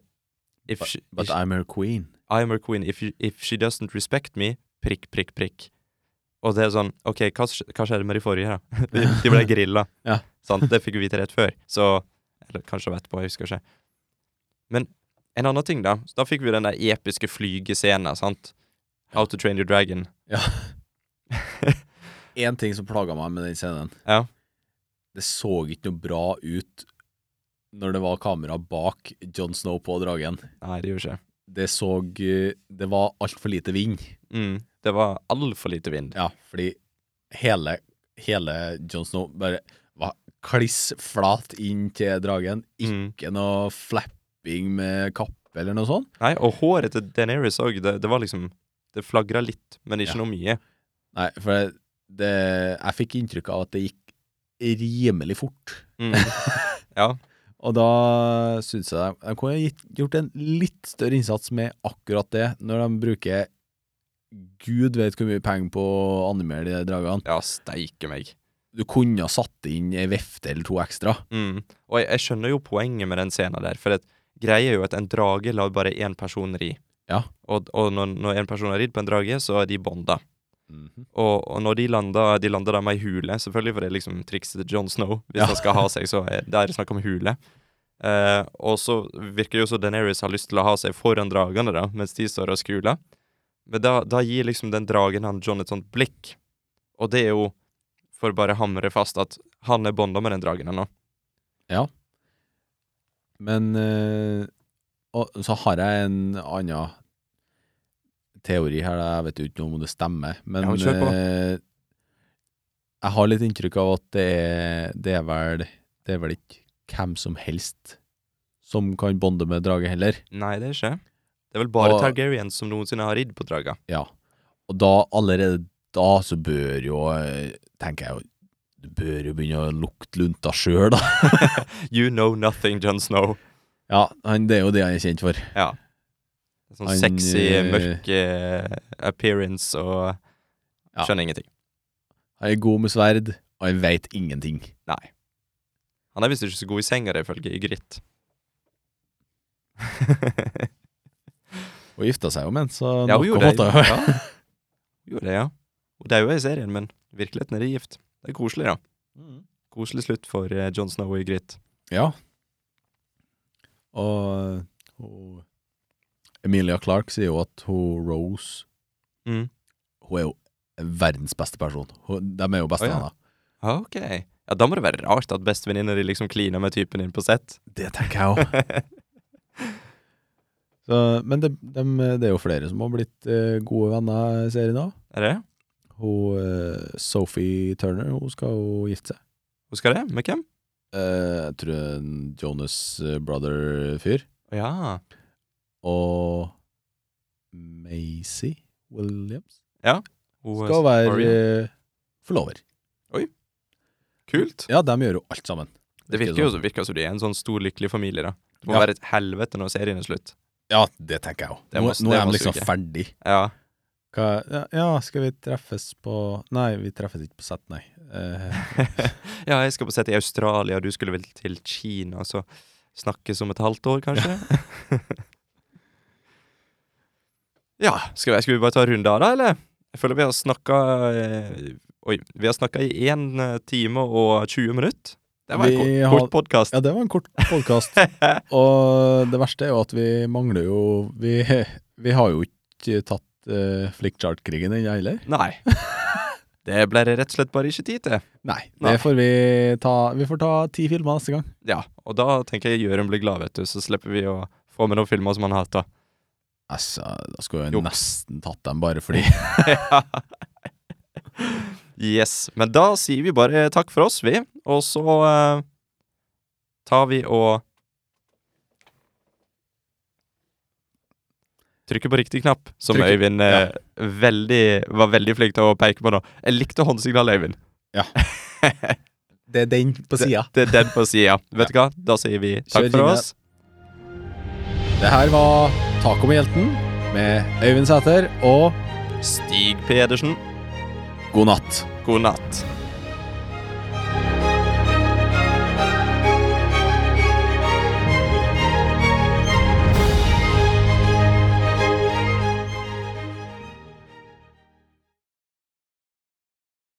A: if she,
B: But
A: if
B: I'm her queen.
A: I'm her queen. If, you, if she doesn't respect me, prikk, prikk, prikk. Og det er sånn OK, hva, sk- hva skjedde med de forrige, da? De, de ble grilla.
B: Ja.
A: Sant? Det fikk vi vite rett før. Så Eller kanskje det var etterpå, jeg husker ikke. Men en annen ting, da. Da fikk vi den der episke flygescenen, sant? How to train your dragon.
B: Ja. Én ting som plaga meg med den scenen,
A: Ja.
B: det så ikke noe bra ut når det var kamera bak John Snow på dragen.
A: Nei, det gjorde ikke
B: Det så eh, Det var altfor lite vind.
A: mm. Det var altfor lite vind.
B: Ja, fordi hele, hele Jon Snow bare var kliss flat inn til dragen.
A: Mm.
B: Ikke noe flapping med kappe eller noe sånt.
A: Nei, og håret til Daenerys òg, det, det var liksom Det flagra litt, men ikke
B: Ja.
A: noe mye.
B: Nei, for det, jeg fikk inntrykk av at det gikk rimelig fort.
A: Mm. ja.
B: Og da syns jeg de- de kunne ha gitt- gjort en litt større innsats med akkurat det, når de bruker gud vet hvor mye penger på å animere de der dragene.
A: ja, steike meg.
B: Du kunne ha satt inn ei vefte eller to ekstra.
A: Mm. Og jeg, jeg skjønner jo poenget med den scenen der, for at greia er jo at en drage lar bare én person ri.
B: Ja.
A: Og, og når, når en person har ridd på en drage, så er de bonda. Og, og når de lander De lander da med ei hule, selvfølgelig, for det er liksom trikset til John Snow. Hvis
B: Ja.
A: han skal ha seg, så er det er snakk om hule. Eh, og så virker det jo som Daenerys har lyst til å ha seg foran dragene, da, mens de står og skuler. Men da, da gir liksom den dragen han John et sånt blikk, og det er jo for å bare hamre fast at han er bonda med den dragen ennå.
B: Men eh, og, Så har jeg en annen teori her, da. jeg vet jo ikke noe om det stemmer, men
A: Ja, men kjør på, da.
B: eh, jeg har litt inntrykk av at det er, det er vel Det er vel ikke hvem som helst som kan bonde med drage heller.
A: Nei, det er ikke. Det er vel bare
B: Og-
A: Targaryen som noensinne har ridd på draga.
B: Ja. Og da, allerede da, så bør jo eh, Tenker jeg jo Du bør jo begynne å lukte lunta sjøl, da.
A: You know nothing, John Snow.
B: Ja, han, det er jo det han er kjent for.
A: Ja. Sånn
B: Han,
A: sexy,
B: eh,
A: mørk eh, appearance og
B: Ja.
A: Skjønner ingenting.
B: Han er god med sverd, og han veit ingenting.
A: Nei. Han er visst ikke så god i senga, det ifølge Ygritte.
B: Og gifta seg jo med en, så
A: ja, hun
B: noe
A: gjorde det.
B: måtte jeg-
A: Ja. Hun gjorde det, ja. Hun daua i serien, men i virkeligheten er de gift. Det er koselig, da. Koselig slutt for eh, John Snow og Ygritte.
B: Mm. Ja. Og, og Emilia Clark sier jo at hun Rose
A: Mm.
B: Hun er jo verdens beste person. Hun, de er jo bestevenner.
A: Ah, Ok. Ja, da må det være rart at bestevenninna di liksom kliner med typen din på sett.
B: Det tenker jeg òg. Men det, dem- det er jo flere som har blitt eh, gode venner i serien òg.
A: Er det?
B: Hun eh, Sophie Turner hun skal jo gifte seg.
A: Husker det? Med hvem?
B: Eh, jeg tror en Jonas eh, Brother-fyr.
A: Ja.
B: og Macy Williams
A: Hun,
B: skal være
A: Arya.
B: eh, forlover.
A: Kult.
B: Ja, de gjør jo alt sammen.
A: Det virker jo virker som de er en sånn stor, lykkelig familie, da. Det må
B: Ja.
A: være et helvete når serien er slutt.
B: Ja, det tenker jeg òg.
A: Det
B: Nå,
A: må-
B: nå
A: det
B: er
A: må
B: de liksom
A: suge.
B: ferdig.
A: Ja.
B: Hva, ja, ja, skal vi treffes på Nei, vi treffes ikke på sett, nei. Eh,
A: ja, jeg skal på sett i Australia, du skulle vel til Kina, så snakkes om et halvt år, kanskje? ja, skal vi, skal vi bare ta en runde av, da, eller? Jeg føler vi har snakka eh, Oi, vi har snakka i én time og 20 minutter. Det var en
B: Vi
A: kort,
B: har-
A: kort podkast.
B: ja, det var en kort podkast. Og det verste er jo at vi mangler jo Vi, vi har jo ikke tatt uh, Flickchart-krigen ennå heller.
A: Nei. Det ble det rett og slett bare ikke tid til.
B: Nei,
A: Nei.
B: det får vi ta Vi får ta ti filmer neste gang.
A: Ja, og da tenker jeg Jørund blir glad, vet du, så slipper vi å få med noen filmer som han hater.
B: Altså, da skulle jeg
A: Jo.
B: nesten tatt dem bare fordi
A: Yes. Men da sier vi bare takk for oss, vi. Og så eh, tar vi og Trykker på riktig knapp, som
B: Trykker-
A: Øyvind eh, veldig, var veldig flink til å peke på nå. Jeg likte håndsignalet, Øyvind.
B: Det er den på sida.
A: Det er den på sida. Vet du hva? Da sier vi takk
B: Kjør
A: for
B: jingle.
A: oss.
B: Det her var Taco med hjelten med Øyvind Sæter, og
A: Stig Pedersen,
B: god natt.
A: god natt.